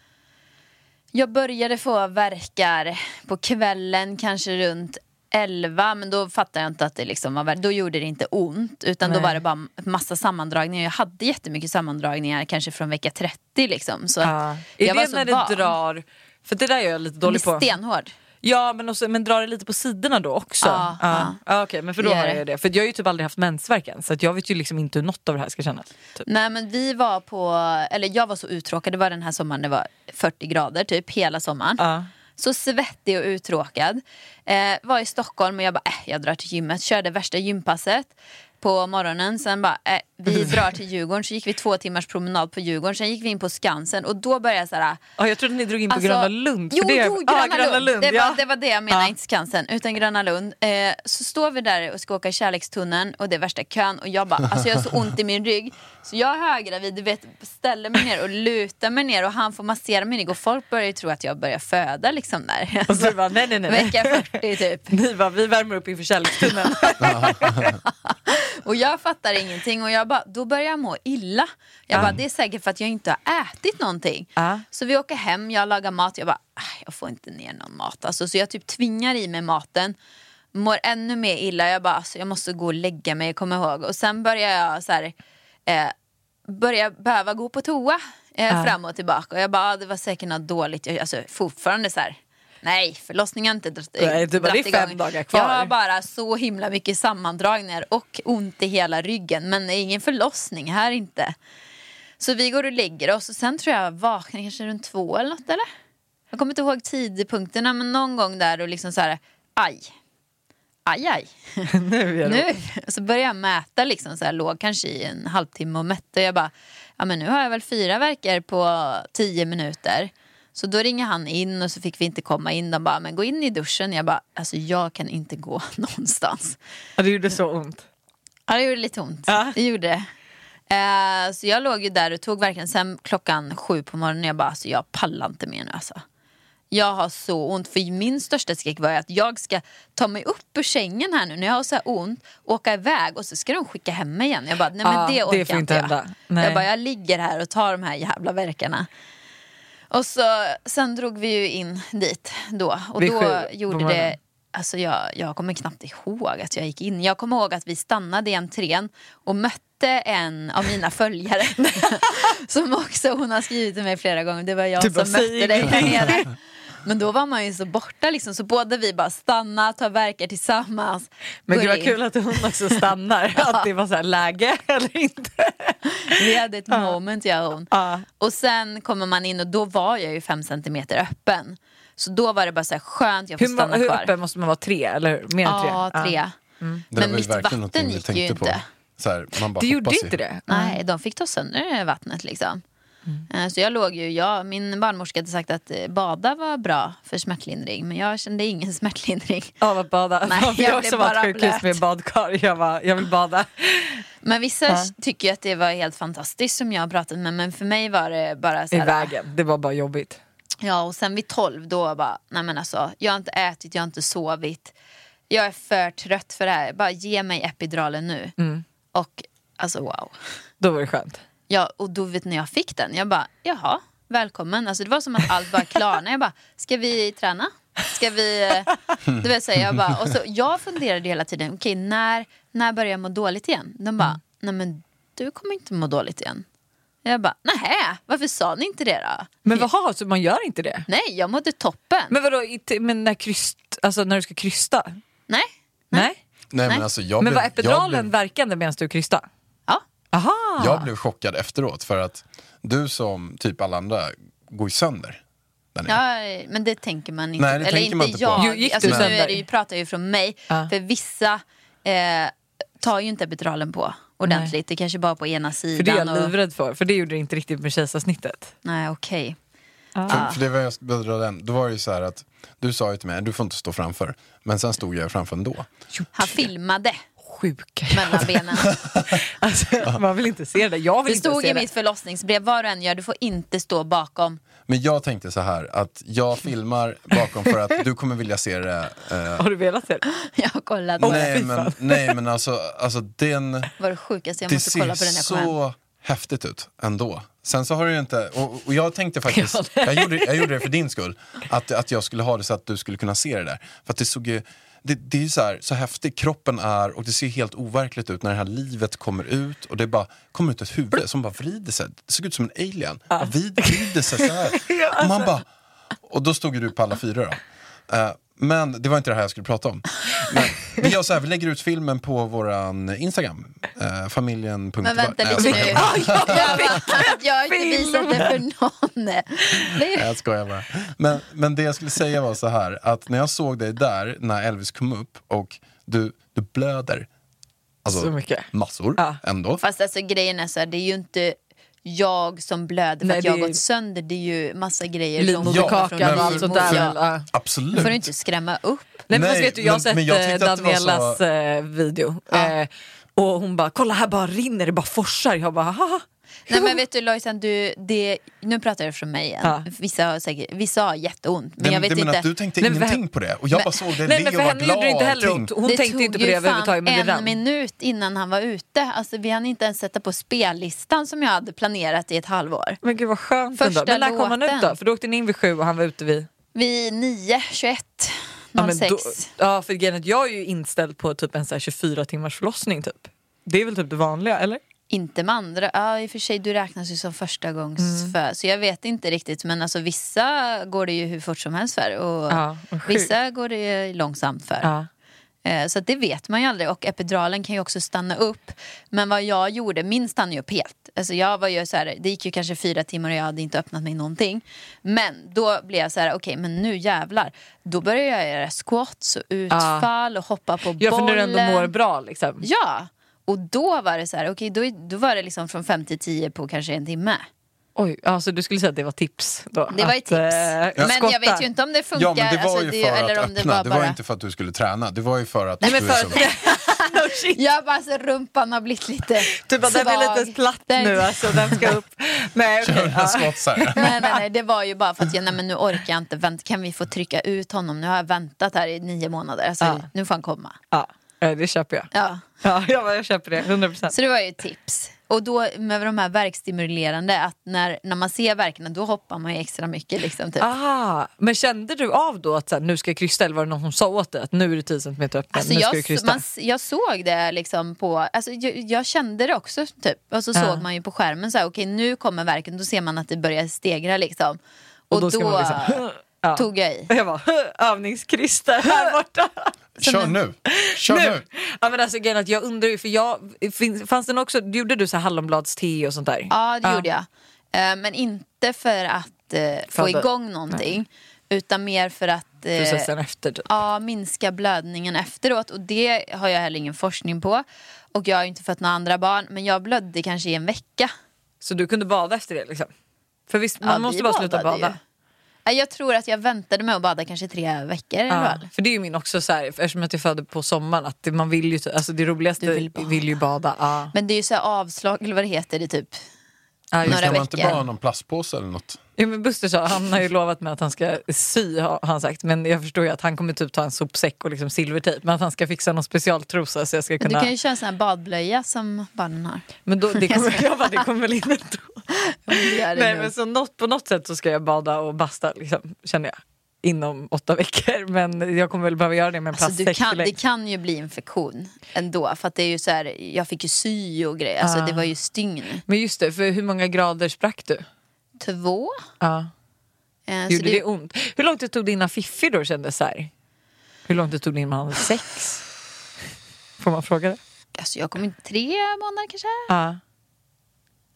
S3: jag började få verkar på kvällen, kanske runt 11, men då fattade jag inte att det liksom var värk. Då gjorde det inte ont, utan
S2: Nej.
S3: då var det bara massa sammandragningar. Jag hade jättemycket sammandragningar, kanske från vecka 30 liksom. Så
S2: Ja.
S3: att
S2: Är
S3: jag var
S2: det
S3: så
S2: när
S3: van.
S2: det drar, för det där är jag lite
S3: Den är
S2: dålig på.
S3: stenhård.
S2: Ja men, också, men drar det lite på sidorna då också?
S3: Ja,
S2: ja. ja. Okej men för då
S3: Det gör
S2: har
S3: det.
S2: jag det. För jag har ju typ aldrig haft mensvärk än så att jag vet ju liksom inte hur något av det här ska kännas. Typ.
S3: Nej men vi var på, eller jag var så uttråkad, det var den här sommaren det var 40 grader typ hela sommaren.
S2: Ja.
S3: Så svettig och uttråkad. Eh, var i Stockholm och jag bara, äh, jag drar till gymmet. Körde värsta gympasset på morgonen. Sen bara, äh, vi drar till Djurgården. Så gick vi två timmars promenad på Djurgården. Sen gick vi in på Skansen och då började jag så här...
S2: Ja, jag trodde ni drog in på
S3: Alltså,
S2: Gröna Lund. för
S3: Jo,
S2: det,
S3: jo Gröna,
S2: ja,
S3: Lund. Det,
S2: ja.
S3: var, det var det jag menade,
S2: Ja.
S3: inte Skansen. Utan Gröna Lund. Eh, så står vi där och ska åka i kärlekstunneln och det är värsta kön och jag bara, alltså jag har så ont i min rygg. Så jag högravid, du vet, ställer mig ner och lutar mig ner och han får massera min rygg och folk börjar ju tro att jag börjar föda liksom där.
S2: Och så bara, nej nej nej.
S3: Vecka 40 typ.
S2: Ni bara, vi värmer upp inför kärlekstunneln.
S3: Och jag fattar ingenting och jag bara, då börjar jag må illa. Jag bara, det är säkert för att jag inte har ätit någonting.
S2: Ja.
S3: Så vi åker hem, jag lagar mat, jag bara, "Ah, jag får inte ner någon mat. Alltså, så jag typ tvingar i mig maten, mår ännu mer illa. Jag bara, alltså, jag måste gå och lägga mig, kommer ihåg. Och sen börjar jag så här, eh, börjar behöva gå på toa eh, fram och tillbaka. Och jag bara, ah, det var säkert något dåligt. Jag, alltså, fortfarande så här. Nej, förlossningen har inte dratt
S2: Nej, du bara,
S3: dratt
S2: det är fem
S3: igång.
S2: dagar kvar.
S3: Jag har bara så himla mycket sammandragningar och ont i hela ryggen. Men det är ingen förlossning här inte. Så vi går och lägger oss och sen tror jag jag vaknar kanske runt två eller något eller? Jag kommer inte ihåg tidpunkterna men någon gång där och liksom så här, aj. Aj aj.
S2: nu är det
S3: Nu! Och så började jag mäta liksom så här, låg kanske i en halvtimme och mätte. Jag bara, ja men nu har jag väl fyra verkar på tio minuter. Så då ringer han in och så fick vi inte komma in. De bara, men gå in i duschen. Jag bara, alltså jag kan inte gå någonstans.
S2: Ja, det gjorde så ont.
S3: Ja, det gjorde lite ont.
S2: Ja.
S3: Det gjorde det. Eh, så jag låg ju där och tog verkligen sen klockan sju på morgonen. Jag bara, alltså jag pallar inte mer nu alltså. Jag har så ont. För min största skräck var ju att jag ska ta mig upp ur sängen här nu när jag har så här ont. Åka iväg och så ska de skicka hem mig igen. Jag bara, nej men
S2: Ja,
S3: det
S2: det
S3: orkar
S2: får inte
S3: inte jag.
S2: hända. Nej.
S3: Jag bara, jag ligger här och tar de här jävla verkarna. Och så, sen drog vi ju in dit då. Och
S2: Vid sju
S3: då
S2: på
S3: gjorde
S2: morgonen.
S3: det Alltså jag, jag kommer knappt ihåg att jag gick in. Jag kommer ihåg att vi stannade i entrén och mötte inte en av mina följare som också hon har skrivit till mig flera gånger. Det var jag
S2: Du bara,
S3: som
S2: "Säg
S3: mötte dig där
S2: ingenting."
S3: nere. Men då var man ju så borta liksom, så båda vi bara stanna, ta verkar tillsammans.
S2: Men
S3: går
S2: det var
S3: in.
S2: kul att hon också stannar, att det var så här läge eller inte.
S3: Vi hade ett moment jag och hon.
S2: Ja.
S3: Och sen kommer man in och då var jag ju fem centimeter öppen. Så då var det bara så här skönt, jag får
S2: Hur,
S3: stanna
S2: ma- hur
S3: kvar.
S2: öppen måste man vara? Tre eller hur? Mer än tre?
S3: Ja, tre.
S2: Mm.
S4: Det
S3: Men
S4: var ju
S3: mitt
S4: verkligen någonting
S3: vatten
S4: vi
S3: gick
S4: tänkte
S3: ju
S4: på.
S3: inte.
S4: Så här, man bara
S2: Du gjorde
S4: hoppas ju.
S2: inte det?
S3: Nej, de fick ta sönder det vattnet liksom.
S2: Mm.
S3: Eh, Så jag låg ju, jag, min barnmorska hade sagt att eh, bada var bra för smärtlindring men jag kände ingen smärtlindring.
S2: Av att bada?
S3: Nej,
S2: jag
S3: jag
S2: har
S3: blev
S2: också varit
S3: bara
S2: sjukhus
S3: blöt.
S2: med badkar. Jag, bara, jag vill bada.
S3: Men vissa tycker ju att det var helt fantastiskt som jag har pratat med men för mig var det bara så
S2: I
S3: här,
S2: vägen, det var bara jobbigt.
S3: Ja, och sen vid tolv då bara, nej men alltså, jag har inte ätit, jag har inte sovit. Jag är för trött för det här. Bara ge mig epiduralen nu.
S2: Mm.
S3: Och alltså wow.
S2: Då var det skönt.
S3: Ja, och då vet ni när jag fick den, jag bara, jaha, välkommen. Alltså det var som att allt bara klarnade. Jag bara, ska vi träna? Ska vi... eh, Du vet, så här, jag, bara, och så, jag funderade hela tiden, okej när, när börjar jag må dåligt igen? De bara, nej men du kommer inte må dåligt igen. Jag bara, nähä, varför sa ni inte det då?
S2: Men jaha, så man gör inte det?
S3: Nej, jag mådde toppen.
S2: Men vadå, inte- men när, kryst, alltså när du ska krysta?
S3: Nej.
S2: Nej?
S4: Nej,
S3: Nej.
S4: men alltså, jag
S2: Men
S4: blev,
S2: var
S4: jag
S2: epiduralen
S4: blev,
S2: verkande medan du krysta?
S3: Ja. Ah.
S2: Aha!
S4: jag blev chockad efteråt för att du som typ alla andra går ju sönder. där nere.
S3: Ja, men det tänker man inte.
S4: Nej, det
S3: Eller
S4: tänker
S3: inte
S4: man inte på.
S3: jag.
S2: Jo, gick
S3: alltså,
S2: du
S3: nu
S2: sönder?
S3: är det ju, pratar jag ju från mig.
S2: Ja.
S3: För vissa eh, tar ju inte epiduralen på ordentligt. Det kanske bara på ena sidan.
S2: För det är jag
S3: och,
S2: livrädd för, för det gjorde det inte riktigt med kejsarsnittet.
S3: nej, okej.
S4: För, för det var jag skulle dra den. Då var det ju så här att du sa ju till mig, du får inte stå framför. Men sen stod jag framför ändå.
S3: Han filmade
S2: Sjuka
S3: mellan benen.
S2: alltså, Man vill inte se det där. jag vill
S3: Det
S2: inte
S3: stod
S2: se
S3: i
S2: det.
S3: mitt förlossningsbrev, vad du än gör, du får inte stå bakom.
S4: Men jag tänkte så här att jag filmar bakom för att du kommer vilja se det. Eh,
S2: Har du velat se det?
S3: Jag har kollat.
S4: nej, men, nej men alltså, alltså den...
S3: Det var det sjukaste, jag
S4: det
S3: måste kolla på den
S4: ser
S3: när jag kom hem.
S4: så häftigt ut ändå. Sen så har det ju inte, och, och jag tänkte faktiskt, jag gjorde, jag gjorde det för din skull, att, att jag skulle ha det så att du skulle kunna se det där. För att det såg ju, det, det är ju så, här, så häftigt kroppen är och det ser helt overkligt ut när det här livet kommer ut och det bara kommer ut ett huvud som bara vrider sig. Det såg ut som en alien. Ja. alltså. Vid, vrider sig så här. Och man bara, och då stod ju du på alla fyra då. Eh, men det var inte det här jag skulle prata om. Men vi, gör så här, vi lägger ut filmen på våran Instagram, eh, familjen.
S3: Men vänta
S4: Nej, jag
S3: lite nu.
S4: skojar.
S3: jag, bara, jag har inte visat det för någon. Det är-
S4: Nej, Jag skojar bara. Men, men det jag skulle säga var så här, att när jag såg dig där, när Elvis kom upp och du, du blöder alltså,
S2: Så mycket.
S4: massor
S2: Ja.
S4: ändå.
S3: Fast alltså grejen är så här, det är ju inte jag som blöder för
S2: Nej,
S3: att
S2: det
S3: jag
S2: är
S3: har
S2: ju-
S3: gått sönder. Det är ju massa grejer som
S4: Ja,
S2: Livmoderkakan
S4: men-
S2: och allt sånt där.
S3: Ja.
S2: Ja.
S4: Absolut.
S3: Du får du inte skrämma upp.
S2: Nej, men
S4: Nej,
S2: fast vet du, jag har
S4: men-
S2: sett
S4: men jag
S2: eh,
S4: tyckte att det var
S2: Danielas
S4: så-
S2: eh, video.
S3: Ja.
S2: Eh, och hon bara, kolla här bara rinner det, bara forsar. Jag bara, haha.
S3: Nej men vet du Lojsan, du, det, nu pratar jag från mig igen.
S2: Ja.
S3: Vissa, har säkert, vissa har jätteont men
S4: det,
S3: jag vet
S4: det, men
S3: inte.
S4: att du tänkte
S2: Nej, men för-
S4: ingenting på det. Och jag bara såg dig
S2: Nej
S4: le
S2: men
S4: och
S2: för
S4: var
S2: henne gjorde det
S4: glad.
S2: inte heller
S4: allting.
S2: ont. Hon
S3: det
S2: tänkte inte på
S3: ju
S2: det
S3: fan
S2: överhuvudtaget men det
S3: en
S2: rann.
S3: minut innan han var ute. Alltså, vi hann inte ens sätta på spellistan som jag hade planerat i ett halvår.
S2: Men gud vad skönt ändå.
S3: Första
S2: Men när kom han ut då?
S3: låten.
S2: För då åkte ni in vid sju och han var ute vid...
S3: Vi 9, 21, 06.
S2: Ja, men då, ja för grejen är att jag är ju inställd på typ en så här 24 timmars förlossning typ. Det är väl typ det vanliga eller?
S3: Inte med andra. Ja, i och för sig, du räknas ju som första gångs
S2: Mm.
S3: för, Så jag vet inte riktigt. Men alltså, vissa går det ju hur fort som helst för. Och
S2: Ja, och sjukt.
S3: vissa går det ju långsamt för.
S2: Ja.
S3: Eh, Så att det vet man ju aldrig. Och epiduralen kan ju också stanna upp. Men vad jag gjorde, min stannade ju upp helt. Alltså jag var ju så här, det gick ju kanske fyra timmar och jag hade inte öppnat mig någonting. Men då blev jag så här, okej men nu jävlar. Då började jag göra squats och utfall och hoppa på
S2: Ja för
S3: bollen.
S2: när du ändå mår bra liksom.
S3: Ja, och då var det så här, okej då, då var det liksom från 5 till 10 på kanske en timme.
S2: Oj, alltså du skulle säga att det var tips då?
S3: Det var ju
S2: Att,
S3: tips.
S2: eh,
S3: men
S2: skotta.
S3: jag vet ju inte om det funkar.
S4: Ja men det var
S3: alltså,
S4: ju
S3: det-
S4: för
S3: eller
S4: att
S3: om det
S4: öppna,
S3: var
S4: det
S3: bara...
S4: var ju inte för att du skulle träna. Det var ju för att
S2: Nej men
S4: du liksom-
S2: för
S4: som-
S2: att... Oh, shit.
S3: Ja, bara så rumpan har blivit lite
S4: Typ
S2: Du Typ bara, den är lite platt
S3: Den-
S2: nu alltså, den ska upp. Nej okej.
S4: Jag
S2: ja.
S4: skott så här.
S3: Nej, nej, nej, det var ju bara för att jag, nej, men nu orkar jag inte vänta. Kan vi få trycka ut honom? Nu har jag väntat här i nio månader. Alltså,
S2: Ja.
S3: Nu får han komma.
S2: ja, eh, det köper jag.
S3: Ja.
S2: Ja, jag, bara, jag köper det, 100%.
S3: Så det var ju ett tips. Och då med de här verkstimulerande att när, när man ser verkarna då hoppar man ju extra mycket. Liksom, typ.
S2: Aha. Men kände du av då att så här, nu ska jag krysta eller var det någon som sa åt dig att nu är det 10 cm öppen,
S3: Alltså
S2: nu ska
S3: jag,
S2: du
S3: s-
S2: krysta?
S3: man, s- jag såg det liksom på, alltså jag, jag kände det också typ. Och så
S2: Ja.
S3: såg man ju på skärmen så här, okej nu kommer verken, då ser man att det börjar stegra liksom. Och,
S2: då
S3: då,
S2: ska man liksom, ja.
S3: tog jag i.
S2: Jag bara, övningskrista här borta.
S4: Kör nu! Kör nu!
S2: Ja, men alltså, grejen är att jag undrar ju, för jag, finns, fanns den också, gjorde du så här hallonbladste och sånt där?
S3: Ja det gjorde jag. Eh, Men inte för att eh, få
S2: att-
S3: igång någonting. Utan mer för att eh,
S2: Processen efter typ.
S3: Ja, minska blödningen efteråt. Och det har jag heller ingen forskning på. Och jag har ju inte fött några andra barn. Men jag blödde kanske i en vecka.
S2: Så du kunde bada efter det liksom? För visst, man
S3: ja, vi
S2: måste bara sluta
S3: badade ju.
S2: bada.
S3: Nej, Jag tror att jag väntade med att bada kanske tre veckor i alla
S2: Ja,
S3: fall.
S2: för det är ju min också så här, eftersom att jag födde på sommaren, att det, man vill ju, alltså det roligaste
S3: Du
S2: vill,
S3: vill bada.
S2: ju bada. Ja.
S3: Men det är ju så här avslag eller vad det heter i typ
S2: Ja, just
S3: några
S4: Kan man inte bara ha
S3: veckor.
S4: någon plastpåse eller något?
S2: Ja, men Buster sa, han har ju lovat mig att han ska sy har han sagt. Men jag förstår ju att han kommer typ ta en sopsäck och liksom silvertejp. Men att han ska fixa någon specialtrosa så jag ska
S3: Men du
S2: kunna...
S3: kan ju köra en sån här badblöja som barnen har.
S2: Men då, det kommer, jag bara, det kommer väl in ändå.
S3: Det är det
S2: Nej
S3: nog.
S2: men så något, på något sätt så ska jag bada och basta liksom, känner jag. Inom åtta veckor. Men jag kommer väl behöva göra det med en
S3: Alltså, du
S2: plastsäck.
S3: kan,
S2: för länge.
S3: det kan ju bli infektion ändå. För att det är ju så här, jag fick ju sy och grejer. Alltså, Det
S2: Ah.
S3: var ju stygn.
S2: Men just det, för hur många grader sprack du?
S3: Två.
S2: Ja.
S3: Eh, så
S2: Gjorde Alltså det ont? Hur långt det tog det innan Fiffi då kändes så här? Hur långt det tog det innan man hade sex? Får man fråga det?
S3: alltså, jag kommer inte, tre månader kanske?
S2: Ja.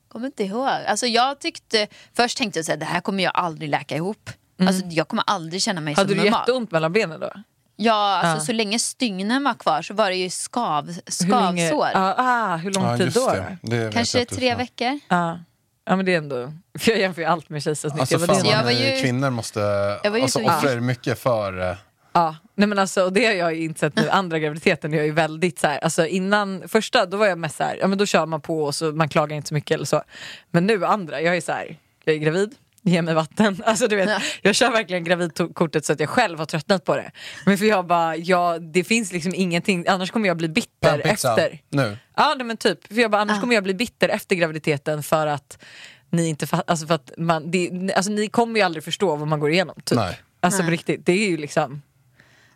S3: Kommer inte ihåg. Alltså, jag tyckte, först tänkte jag så här, det här kommer jag aldrig läka ihop. Alltså, jag kommer aldrig känna mig
S2: Mm. Hade
S3: som
S2: du
S3: normal.
S2: jätteont mellan benen då?
S3: Ja, alltså,
S2: Ja.
S3: så länge stygnen var kvar så var det ju skav,
S2: Hur länge-
S3: skavsår.
S2: Ja, ah, hur lång tid då? då?
S4: det. det vet
S3: Kanske
S4: jag inte
S3: tre
S4: ifrån.
S3: veckor.
S2: Ja. ja, men det är ändå... För jag jämför ju allt med kejsarsnitt.
S4: Alltså
S2: Jag bara, det är
S4: fan
S2: ändå-
S3: jag
S4: vad
S3: var
S4: ni
S3: ju-
S4: kvinnor måste
S3: Jag var ju
S4: alltså,
S3: så-
S4: offra er mycket för... eh,
S2: Ja, nej men alltså, och det har jag ju insett nu, andra graviditeten, jag är ju väldigt så här, alltså innan första då var jag mest så här, ja men då kör man på och så man klagar inte så mycket eller så. Men nu andra, jag är så här, jag är gravid, ge mig vatten. Alltså du vet, jag kör verkligen gravidkortet så att jag själv har tröttnat på det. Men för jag bara, ja det finns liksom ingenting, annars kommer jag bli bitter
S4: Pannpizza.
S2: efter.
S4: Nu.
S2: Ja nej, men typ, för jag bara, annars kommer jag bli bitter efter graviditeten för att ni inte fa- alltså för att man, det, alltså ni kommer ju aldrig förstå vad man går igenom typ.
S4: Nej.
S2: Alltså på riktigt, det är ju liksom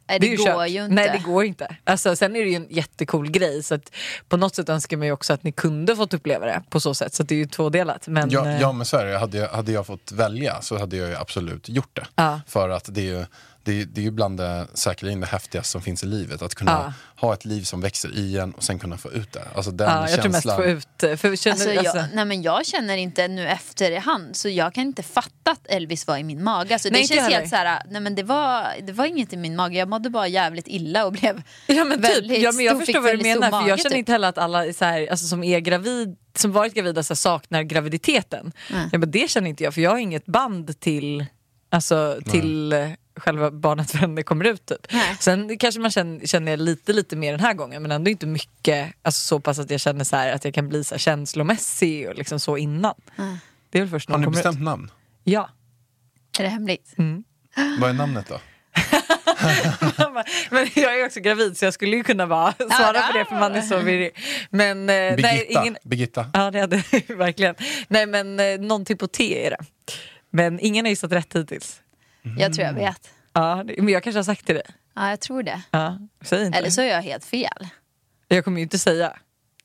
S3: Nej,
S2: det,
S3: det,
S2: är ju
S3: går
S2: kört.
S3: ju inte.
S2: Nej det går inte. Alltså, sen är det ju en jättecool grej så att på något sätt önskar man ju också att ni kunde fått uppleva det på så sätt. Så att det är ju tvådelat. Men,
S4: Ja,
S2: eh,
S4: ja men så är det. Hade jag, hade jag fått välja så hade jag ju absolut gjort det.
S2: Ja.
S4: För att det är ju det är, det är ju bland det säkerligen det häftigaste som finns i livet. Att kunna
S2: Ja.
S4: ha ett liv som växer i en och sen kunna få ut det. Alltså den
S2: ja, jag tror mest
S4: känslan.
S2: få ut eh, för känner,
S3: Alltså,
S2: alltså,
S3: jag, nej, men jag känner inte nu efterhand, så jag kan inte fatta att Elvis var i min mage. Alltså, det
S2: Nej, inte
S3: känns
S2: jag
S3: helt så här, nej, men det, var, det var inget i min mage, jag mådde bara jävligt illa och blev
S2: Ja men
S3: väldigt
S2: typ, ja, men jag
S3: stor,
S2: förstår
S3: fick
S2: vad du
S3: väldigt stor
S2: menar för jag
S3: mage,
S2: känner
S3: typ.
S2: inte heller att alla är så här, alltså, som är gravid, som varit gravida så här, saknar graviditeten. Ja, men det känner inte jag för jag har inget band till, alltså, till eh, själva barnet när det kommer ut. Typ.
S3: Nej.
S2: Sen kanske man känner, känner lite lite mer den här gången men ändå inte mycket, alltså, så pass att jag känner så här, att jag kan bli så här, känslomässig och liksom så innan. Det är väl först när
S4: Har
S2: man
S4: ni
S2: kommer
S4: bestämt
S2: ut.
S4: namn?
S2: Ja.
S3: Är det hemligt?
S2: Mm.
S4: Vad är namnet då?
S2: Men jag är också gravid så jag skulle ju kunna bara svara på det för man är så virrig. Men eh, nej,
S4: Birgitta.
S2: ingen,
S4: Birgitta.
S2: Ja, det hade verkligen. Nej, men eh, någonting på T är det. Men ingen har gissat rätt hittills.
S3: Jag tror jag vet.
S2: Ja, det, men jag kanske har sagt till dig.
S3: Ja, jag tror det.
S2: Ja, säg inte.
S3: Eller så är jag helt fel.
S2: Jag kommer ju inte säga.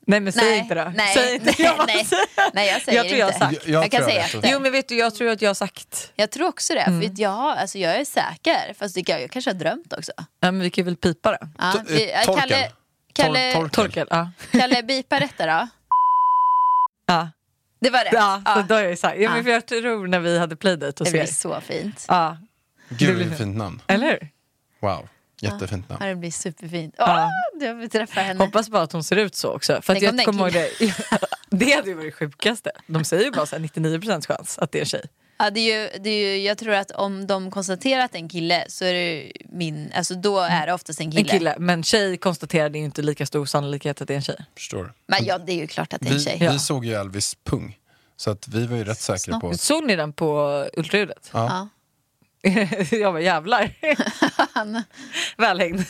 S2: Nej, men säg
S3: nej,
S2: inte då.
S3: Nej,
S2: säg inte.
S3: Nej,
S2: Jag bara
S3: nej,
S2: säger.
S3: nej, jag säger
S2: Jag tror jag
S3: inte.
S2: har
S4: sagt. Jag- jag
S3: kan
S4: tror jag
S3: säga
S4: vet
S3: efter.
S4: också.
S2: Jo, men vet du, jag tror att jag har sagt.
S3: Jag tror också det.
S2: Mm.
S3: För att jag, har- alltså, jag är säker, fast det, jag, jag kanske har drömt också.
S2: Ja, men vi kan väl pipa det.
S3: Ja,
S4: T- eh,
S3: vi- eh,
S4: torken.
S3: Kalle,
S4: Tor-
S3: Kalle,
S4: torken.
S2: Torkel, ja.
S3: Kalle, bipa detta då.
S2: Ja,
S3: Det var det.
S2: ja,
S3: Ja,
S2: Så då har jag ju sagt. Ja, men
S3: Ja.
S2: för jag tror när vi hade playdate
S3: det
S2: hos
S3: blir
S2: er.
S3: så fint.
S2: Ja,
S4: Gud vilket fint namn.
S2: eller hur?
S4: Wow, jättefint namn.
S3: Ja, det blir superfint. Åh, Jag vill träffa henne.
S2: Hoppas bara att hon ser ut så också. För att
S3: Mm. Tänk om
S2: jag
S3: det är
S2: kommer ihåg
S3: en
S2: det. Det hade ju varit det sjukaste. De säger ju bara så här 99% chans att det är en tjej.
S3: Ja, det är ju, det är ju, jag tror att om de konstaterar att det är en kille så är det ju min, alltså då är det oftast en kille.
S2: Mm. En kille, men tjej konstaterade ju inte lika stor sannolikhet att det är en tjej.
S4: Förstår.
S3: Men ja, det är ju klart att det är en
S4: Vi,
S3: tjej.
S4: vi såg ju Elvis pung. Så att vi var ju rätt säkra på...
S2: Såg ni den på ultraljudet?
S4: Ja.
S3: Ja.
S2: jag bara jävlar.
S3: Han,
S2: Välhängd.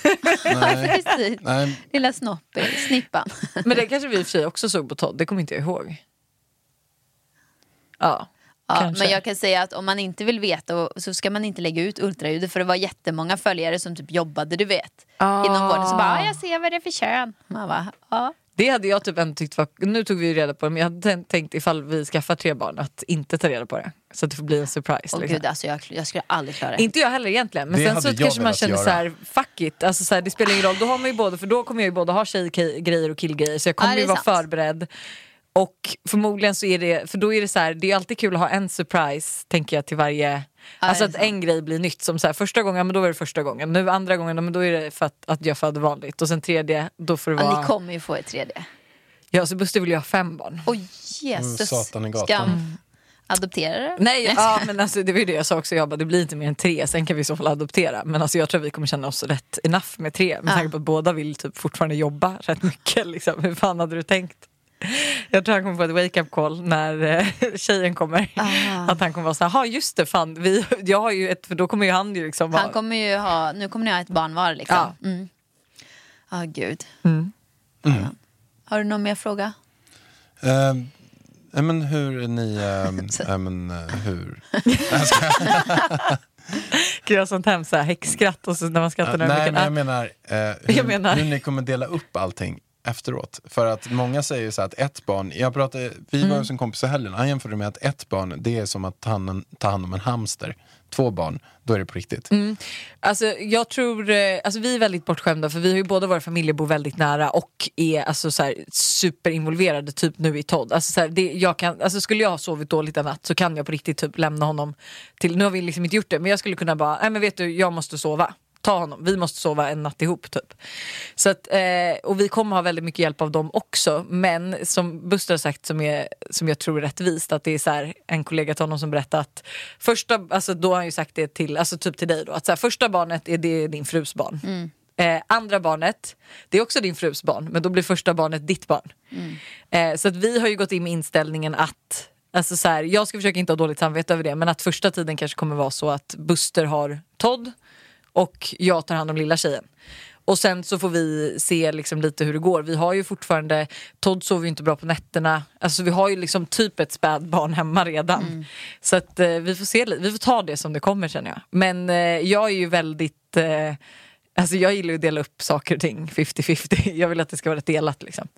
S4: Nej.
S3: precis.
S4: Nej.
S3: Lilla snoppen, snippan.
S2: Men det kanske vi i och för sig också såg på Todd, det kommer inte jag ihåg. Ja,
S3: Ja,
S2: Kanske.
S3: men jag kan säga att om man inte vill veta så ska man inte lägga ut ultraljudet för det var jättemånga följare som typ jobbade du vet
S2: Ah.
S3: inom vården. Så bara, "Ja, jag ser vad det är för kön. Man bara, ja.
S2: det hade jag typ ändå tyckt var, nu tog vi ju reda på det men jag hade tänkt- tänkt ifall vi skaffar tre barn att inte ta reda på det. Så att det får bli en surprise.
S3: Åh
S2: liksom.
S3: gud alltså jag, jag skulle aldrig klara det.
S2: Inte jag heller egentligen. Men
S4: Det
S2: sen
S4: hade
S2: så
S4: jag
S2: kanske man
S4: velat
S2: känner
S4: göra.
S2: så här, fuck it. Alltså så här, det spelar ingen roll, då har man ju både, för då kommer jag ju både ha tjejgrejer och killgrejer så jag kommer
S3: Ja, det är
S2: ju vara
S3: sant.
S2: förberedd. Och förmodligen så är det, för då är det så här, det är alltid kul att ha en surprise tänker jag till varje Alltså
S3: det är
S2: att en grej blir nytt som så här, första gången, ja, men då var det första gången, nu andra gången, ja, men då är det för att, att jag födde vanligt och sen tredje, då får det
S3: Ja,
S2: vara...
S3: ni kommer ju få ett 3D.
S2: Ja, så Buster vill ju ha fem barn.
S3: Oj Jesus.
S4: Mm, satan i gatan.
S3: ska han adoptera det?
S2: Nej, ja, men alltså, det var ju det jag sa också, jag bara, det blir inte mer än tre, sen kan vi i så fall adoptera. Men alltså, jag tror vi kommer känna oss rätt enough med tre, med
S3: Ja.
S2: tanke på att båda vill typ fortfarande jobba rätt mycket. Liksom. Hur fan hade du tänkt? Jag tror han kommer få ett wake-up call när eh, tjejen kommer.
S3: Ah.
S2: Att han kommer vara såhär, ja just det, fan, vi, jag har ju ett, för då kommer ju han ju liksom vara-
S3: Han kommer ju ha, nu kommer ni ha ett barn var liksom. Ja, mm. ah, gud.
S2: Mm.
S4: Mm.
S3: Har du någon mer fråga?
S4: Ehm, nej, men hur är ni... ehm, nej, men, eh, hur?
S2: Gud, jag har sånt hemskt så här häxskratt och så när man skrattar när
S4: nej,
S2: mycket-
S4: men
S2: ah.
S4: jag menar, eh, hur,
S2: Jag menar-
S4: hur ni kommer dela upp allting efteråt. För att många säger ju så här att ett barn, jag pratade, vi
S2: Mm.
S4: var hos en kompis i helgen, han jämförde med att ett barn, det är som att ta hand, ta hand om en hamster. Två barn, då är det på riktigt.
S2: Alltså, jag tror, eh, alltså, vi är väldigt bortskämda för vi har ju båda våra familjer bor väldigt nära och är alltså, så här, superinvolverade typ nu i Todd. Alltså, så här, det, jag kan, alltså, skulle jag ha sovit dåligt en natt så kan jag på riktigt typ lämna honom till, nu har vi liksom inte gjort det men jag skulle kunna bara, nej men vet du jag måste sova. Ta honom, vi måste sova en natt ihop typ. Så att, eh, och vi kommer ha väldigt mycket hjälp av dem också men som Buster har sagt som, är, som jag tror är rättvist att det är så här, en kollega till honom som berättade att första, alltså då har han ju sagt det till, alltså typ till dig då, att så här, första barnet är det är din frus barn. Eh, andra barnet, det är också din frus barn men då blir första barnet ditt barn. Eh, så att vi har ju gått in med inställningen att Alltså så här, jag ska försöka inte ha dåligt samvete över det men att första tiden kanske kommer vara så att Buster har Todd och jag tar hand om lilla tjejen. Och sen så får vi se liksom lite hur det går. Vi har ju fortfarande, Todd sover ju inte bra på nätterna. Alltså vi har ju liksom typ ett spädbarn hemma redan. Så att eh, vi får se, li- vi får ta det som det kommer känner jag. Men eh, jag är ju väldigt, eh, alltså jag gillar ju att dela upp saker och ting 50-50. Jag vill att det ska vara delat liksom.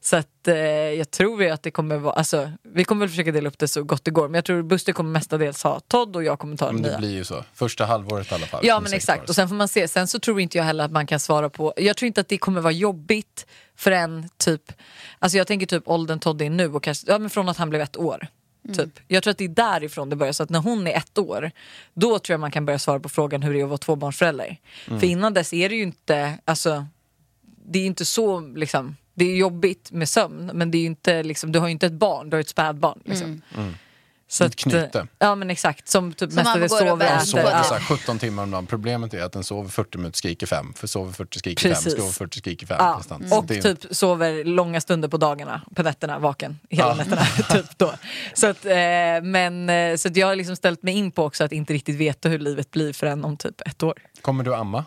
S2: Så att eh, jag tror ju att det kommer vara, alltså vi kommer väl försöka dela upp det så gott det går. Men jag tror Buster kommer mestadels ha Todd och jag kommer ta den
S4: Men det
S2: nya.
S4: blir ju så. Första halvåret i alla fall.
S2: Ja
S4: kommer
S2: men
S4: säkert
S2: exakt,
S4: vara
S2: och
S4: så.
S2: sen får man se. Sen så tror inte jag heller att man kan svara på, jag tror inte att det kommer vara jobbigt för en typ, alltså jag tänker typ åldern Todd är nu och kanske, ja men från att han blev ett år.
S3: Mm.
S2: Typ. Jag tror att det är därifrån det börjar, så att när hon är ett år då tror jag man kan börja svara på frågan hur det är att vara tvåbarnsförälder.
S4: Mm.
S2: För innan dess är det ju inte, alltså det är ju inte så liksom, det är jobbigt med sömn men det är ju inte liksom, du har ju inte ett barn, du har ju ett spädbarn liksom. Så eh,
S4: Ett Mm. knyte.
S2: Ja men exakt, som typ
S3: Mm. Som man
S2: mestadels
S3: går och typ.
S2: sover och
S3: väntar
S4: Den
S2: äter.
S4: sover
S3: Ja.
S4: så här 17 timmar om dagen. Problemet är att den sover 40 minuter, skriker 5. För sover 40, skriker 5,
S2: Precis.
S4: sover 40, skriker 5.
S2: Ja, och typ sover långa stunder på dagarna, på nätterna, vaken hela nätterna. typ då. Så, att, eh, men, eh, så att jag har liksom ställt mig in på också att inte riktigt veta hur livet blir förrän om typ ett år.
S4: Kommer du amma?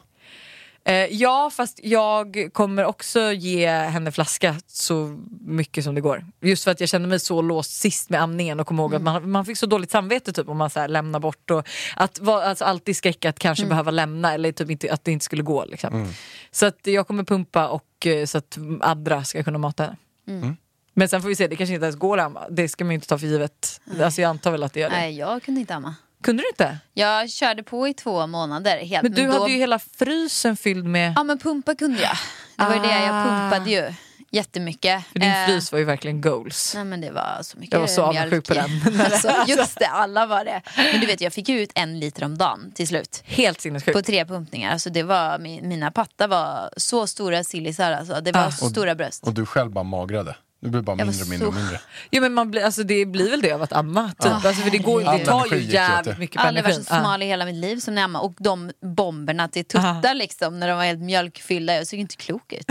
S2: Eh, ja, fast jag kommer också ge henne flaska så mycket som det går. Just för att jag kände mig så låst sist med amningen och kom ihåg
S3: Mm.
S2: att man, man fick så dåligt samvete typ om man så här lämnar bort. Och att vara- alltså alltid skräck att kanske
S3: Mm.
S2: behöva lämna eller typ inte, att det inte skulle gå. Liksom. Så att jag kommer pumpa och eh, så att Adra ska kunna mata henne.
S3: Mm.
S2: Men sen får vi se, det kanske inte ens går att amma. Det ska man ju inte ta för givet. Alltså jag antar väl att det gör det.
S3: Nej jag kunde inte amma.
S2: Kunde du inte?
S3: Jag körde på i två månader helt.
S2: Men du
S3: då-
S2: hade ju hela frysen fylld med...
S3: Ja men pumpa kunde jag. Det var ju det, jag
S2: Ah.
S3: pumpade ju jättemycket.
S2: För din
S3: Eh,
S2: frys var ju verkligen goals.
S3: Nej men det var så mycket
S2: Jag var så
S3: mjölk
S2: avundsjuk på
S3: i.
S2: den.
S3: alltså, just det, alla var det. Men du vet jag fick ju ut en liter om dagen till slut.
S2: Helt sinnessjukt.
S3: På tre pumpningar. Alltså, det var, mi- mina pattar var så stora sillisar alltså. Det var
S2: Ah.
S3: så stora bröst.
S4: Och du själv bara magrade. Du blir bara
S3: Jag var
S4: mindre och mindre och
S3: så-
S4: mindre.
S2: Jo men man blir, alltså, det blir väl det av att amma typ. alltså, för det, går, det
S4: herregud.
S2: tar
S4: All
S2: ju
S4: energi gick åt det.
S2: jävligt mycket Ah. på
S3: Aldrig varit så
S2: energin. Ja.
S3: smal i hela mitt liv som när jag ammade.
S2: Ah.
S3: Och de bomberna till tuttar liksom när de var helt mjölkfyllda. Jag såg inte klok ut.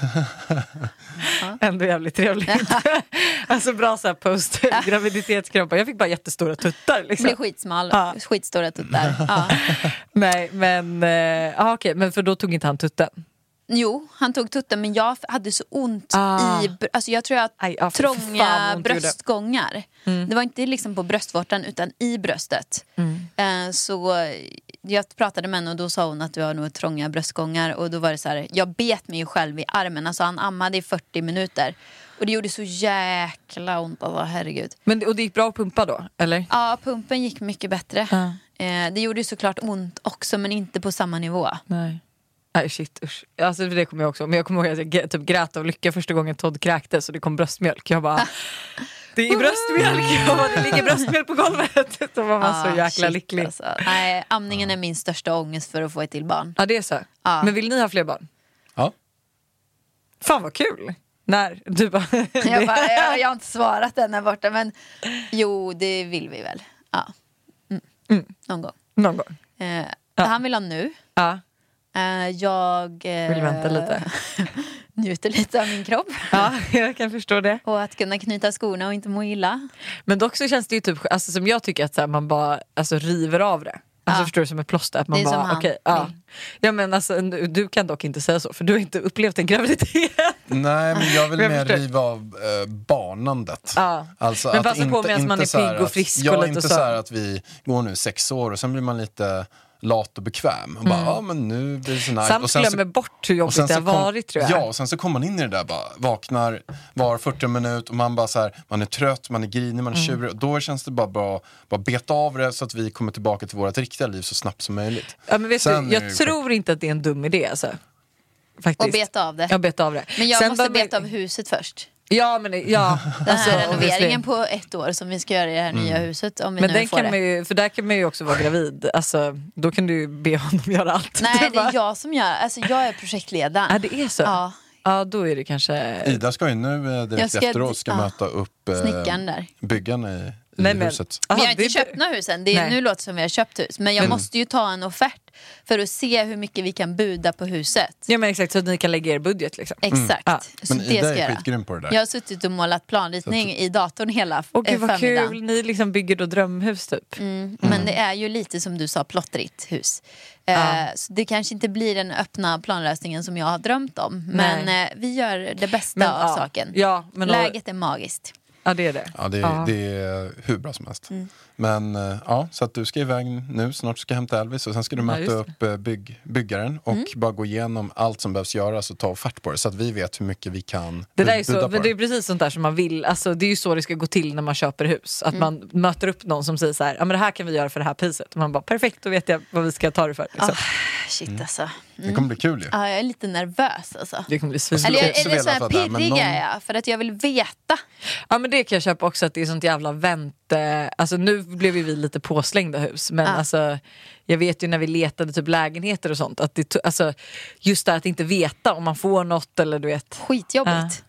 S2: Ändå jävligt trevligt. alltså bra så här post graviditetskroppar. Jag fick bara jättestora tuttar. Liksom.
S3: Blir skitsmal,
S2: Ja.
S3: skitstora tuttar. Ah. Ja.
S2: Nej men, eh, ah, okej, men för då tog inte han tutten.
S3: Jo, han tog tutten men jag hade så ont
S2: Ah.
S3: i... br- Alltså jag tror jag
S2: Aj, ja, för fan
S3: trånga
S2: vad ont det gjorde. Mm.
S3: bröstgångar. Det var inte liksom på bröstvårtan utan i bröstet. Eh, så jag pratade med henne och då sa hon att du har nog trånga bröstgångar. Och då var det så här, jag bet mig ju själv i armen. Alltså han ammade i 40 minuter. Och det gjorde så jäkla ont. Alltså, herregud.
S2: Men, och det gick bra att pumpa då? Eller?
S3: Ja, pumpen gick mycket bättre. Eh, det gjorde ju såklart ont också men inte på samma nivå.
S2: Nej. Nej shit usch. Alltså, det kommer jag också ihåg. Men jag kommer ihåg att jag g- typ grät av lycka första gången Todd kräktes och det kom bröstmjölk. Jag bara, det är bröstmjölk! Jag bara, det ligger bröstmjölk på golvet. Då var man så
S3: Ah,
S2: jäkla
S3: shit,
S2: lycklig.
S3: alltså. Nej, amningen är min största ångest för att få ett till barn.
S2: Ja det är så.
S3: Ja.
S2: Men vill ni ha fler barn?
S4: Ja.
S2: Fan vad kul! När? Du bara...
S3: Jag, bara, jag, jag har inte svarat den här borta men jo det vill vi väl. Ja. Mm. Någon gång.
S2: Någon gång.
S3: Eh, Han vill ha nu.
S2: Ja.
S3: Eh, jag eh,
S2: Vill vänta lite.
S3: njuter lite av min kropp.
S2: ja, jag kan förstå det.
S3: Och att kunna knyta skorna och inte må illa.
S2: Men dock så känns det ju typ, alltså, som jag tycker att så här, man bara alltså, river av det. Alltså
S3: Ja.
S2: förstår du som ett plåster? Att man
S3: Det är
S2: bara,
S3: som han
S2: okej, ja.
S3: vill.
S2: ja men alltså du, du kan dock inte säga så för du har inte upplevt en graviditet.
S4: Nej, men jag vill
S2: Jag
S4: mer
S2: förstår.
S4: riva av eh, barnandet.
S2: Ja.
S4: Alltså
S2: Men
S4: att
S2: passa på
S4: inte-
S2: medan man
S4: inte
S2: är
S4: så här
S2: pigg och
S4: att-
S2: frisk
S4: ja,
S2: och lite
S4: inte
S2: så.
S4: så här att vi går nu sex år och sen blir man lite lat och bekväm. Och bara, ja men nu blir det så nice.
S2: Samt
S4: och sen
S2: Mm. glömmer bort hur
S4: och
S2: jobbigt
S4: sen
S2: det har
S4: så kom-
S2: varit tror jag.
S4: Ja, och sen så kommer man in i det där bara, vaknar var 40 minut och man bara så här, man är trött, man är grinig, man är
S2: Mm.
S4: tjurig. Och då känns det bara bra, bara beta av det så att vi kommer tillbaka till vårt riktiga liv så snabbt som möjligt.
S2: Ja, men vet
S4: Sen
S2: du,
S4: är
S2: jag
S4: det ju-
S2: tror inte att det är en dum idé alltså. Faktiskt.
S3: Och beta av det.
S2: Jag bet av det.
S3: Men jag
S2: Sen
S3: måste
S2: behöver-
S3: beta av huset först.
S2: Ja, men ja. Alltså,
S3: Den
S2: obviously.
S3: här
S2: Mm.
S3: renoveringen på ett år som vi ska göra i det här nya huset om vi
S2: Men
S3: nu
S2: den
S3: får
S2: kan
S3: det.
S2: man ju, för där kan man ju också vara gravid. Alltså, då kan du ju be honom göra allt.
S3: Nej det
S2: bara-
S3: är jag som gör, alltså jag är projektledaren.
S2: Ja, det är så?
S3: Ja.
S2: Ja, då är det kanske...
S4: Ida ska ju nu eh, direkt
S3: Jag ska-
S4: efteråt ska
S3: ja.
S4: möta upp eh,
S3: Snickaren där.
S4: byggaren i, i
S2: Nej, men-
S4: huset.
S2: Aha,
S3: vi har
S2: det
S3: inte
S2: är-
S3: köpt några husen. Det
S2: Nej. Mm.
S3: är, nu låter det som vi har köpt hus. Men jag måste ju ta en offert för att se hur mycket vi kan buda på huset. Mm.
S2: Ja men exakt, så att ni kan lägga er budget liksom.
S3: Exakt.
S2: Ja.
S3: Så
S4: Men
S3: det
S4: Ida
S3: ska jag
S4: är
S3: göra.
S4: skitgrym på det där.
S3: Jag har suttit och målat planritning i datorn hela
S2: Åh gud
S3: eh,
S2: vad
S3: förmiddagen.
S2: kul, ni liksom bygger då drömhus typ.
S3: Mm. Men det är ju lite som du sa, plottrigt hus. Eh, Så det kanske inte blir den öppna planlösningen som jag har drömt om. Men
S2: Nej.
S3: eh, vi gör det bästa
S2: Men,
S3: av
S2: ja.
S3: saken.
S2: Ja, men-
S3: Läget är magiskt.
S2: Ja det är det.
S4: Ja, det,
S2: Ja.
S4: det är hur bra som helst. Men eh, ja, så att du ska iväg nu, snart ska jag hämta Elvis och sen ska du möta
S2: just Mm. det.
S4: upp eh, bygg, byggaren och bara gå igenom allt som behövs göras och ta offert på det så att vi vet hur mycket vi kan
S2: Det där
S4: bud-
S2: är,
S4: buda
S2: så,
S4: på
S2: men det är precis sånt där som man vill, alltså, det är ju så det ska gå till när man köper hus.
S3: Mm.
S2: Att man möter upp någon som säger så här, ja men det här kan vi göra för det här priset. Och man bara perfekt, då vet jag vad vi ska ta det för.
S3: Ah.
S2: Liksom.
S3: Shit
S4: Mm.
S3: alltså.
S4: Det kommer bli kul ju.
S3: Ja, jag är lite nervös alltså.
S2: Det kommer bli
S3: Eller jag,
S2: svinbra.
S4: också
S3: eller så
S4: velat
S3: här
S4: vara där, men
S3: pirrig
S4: någon-
S3: är jag, för att jag vill veta.
S2: Ja men det kan jag köpa också, att det är sånt jävla vänte... Alltså nu blev ju vi lite påslängda hus, men alltså jag vet ju när vi letade typ lägenheter och sånt, att det, to- alltså, just det här att inte veta om man får något eller du vet.
S3: Skitjobbigt.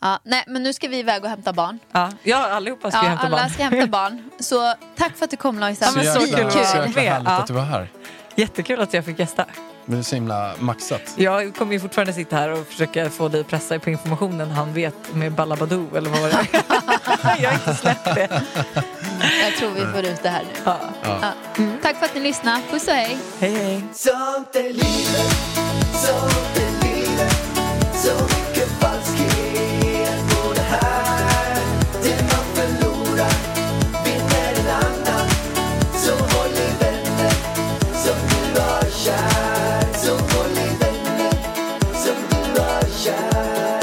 S3: Ja. nej, men nu ska vi iväg och hämta barn.
S2: Ja, ja allihopa ska
S3: Ja,
S2: ju hämta
S3: alla
S2: barn.
S3: ska hämta barn. Så tack för att du kom Lojsan.
S2: Ja, men så
S4: jäkla-
S2: kul att
S4: så
S2: vara
S4: jäkla
S2: med.
S4: härligt
S2: Ja.
S4: att du var här.
S2: Jättekul att jag fick gästa.
S4: Det är så himla maxat.
S2: Jag kommer ju fortfarande sitta här och försöka få dig att pressa på informationen han vet med Balabadoo eller vad var det Jag har inte släppt det.
S3: Jag tror vi får ut det här nu.
S2: Ja.
S3: Ja. Tack för att ni lyssnade. Puss och hej.
S2: Hej hej.
S1: Sånt är livet, sånt är livet Så mycket falskhet på det här Det man förlorar vinner en annan Så håll i vänner som du har kär Så håll i vänner som du har kär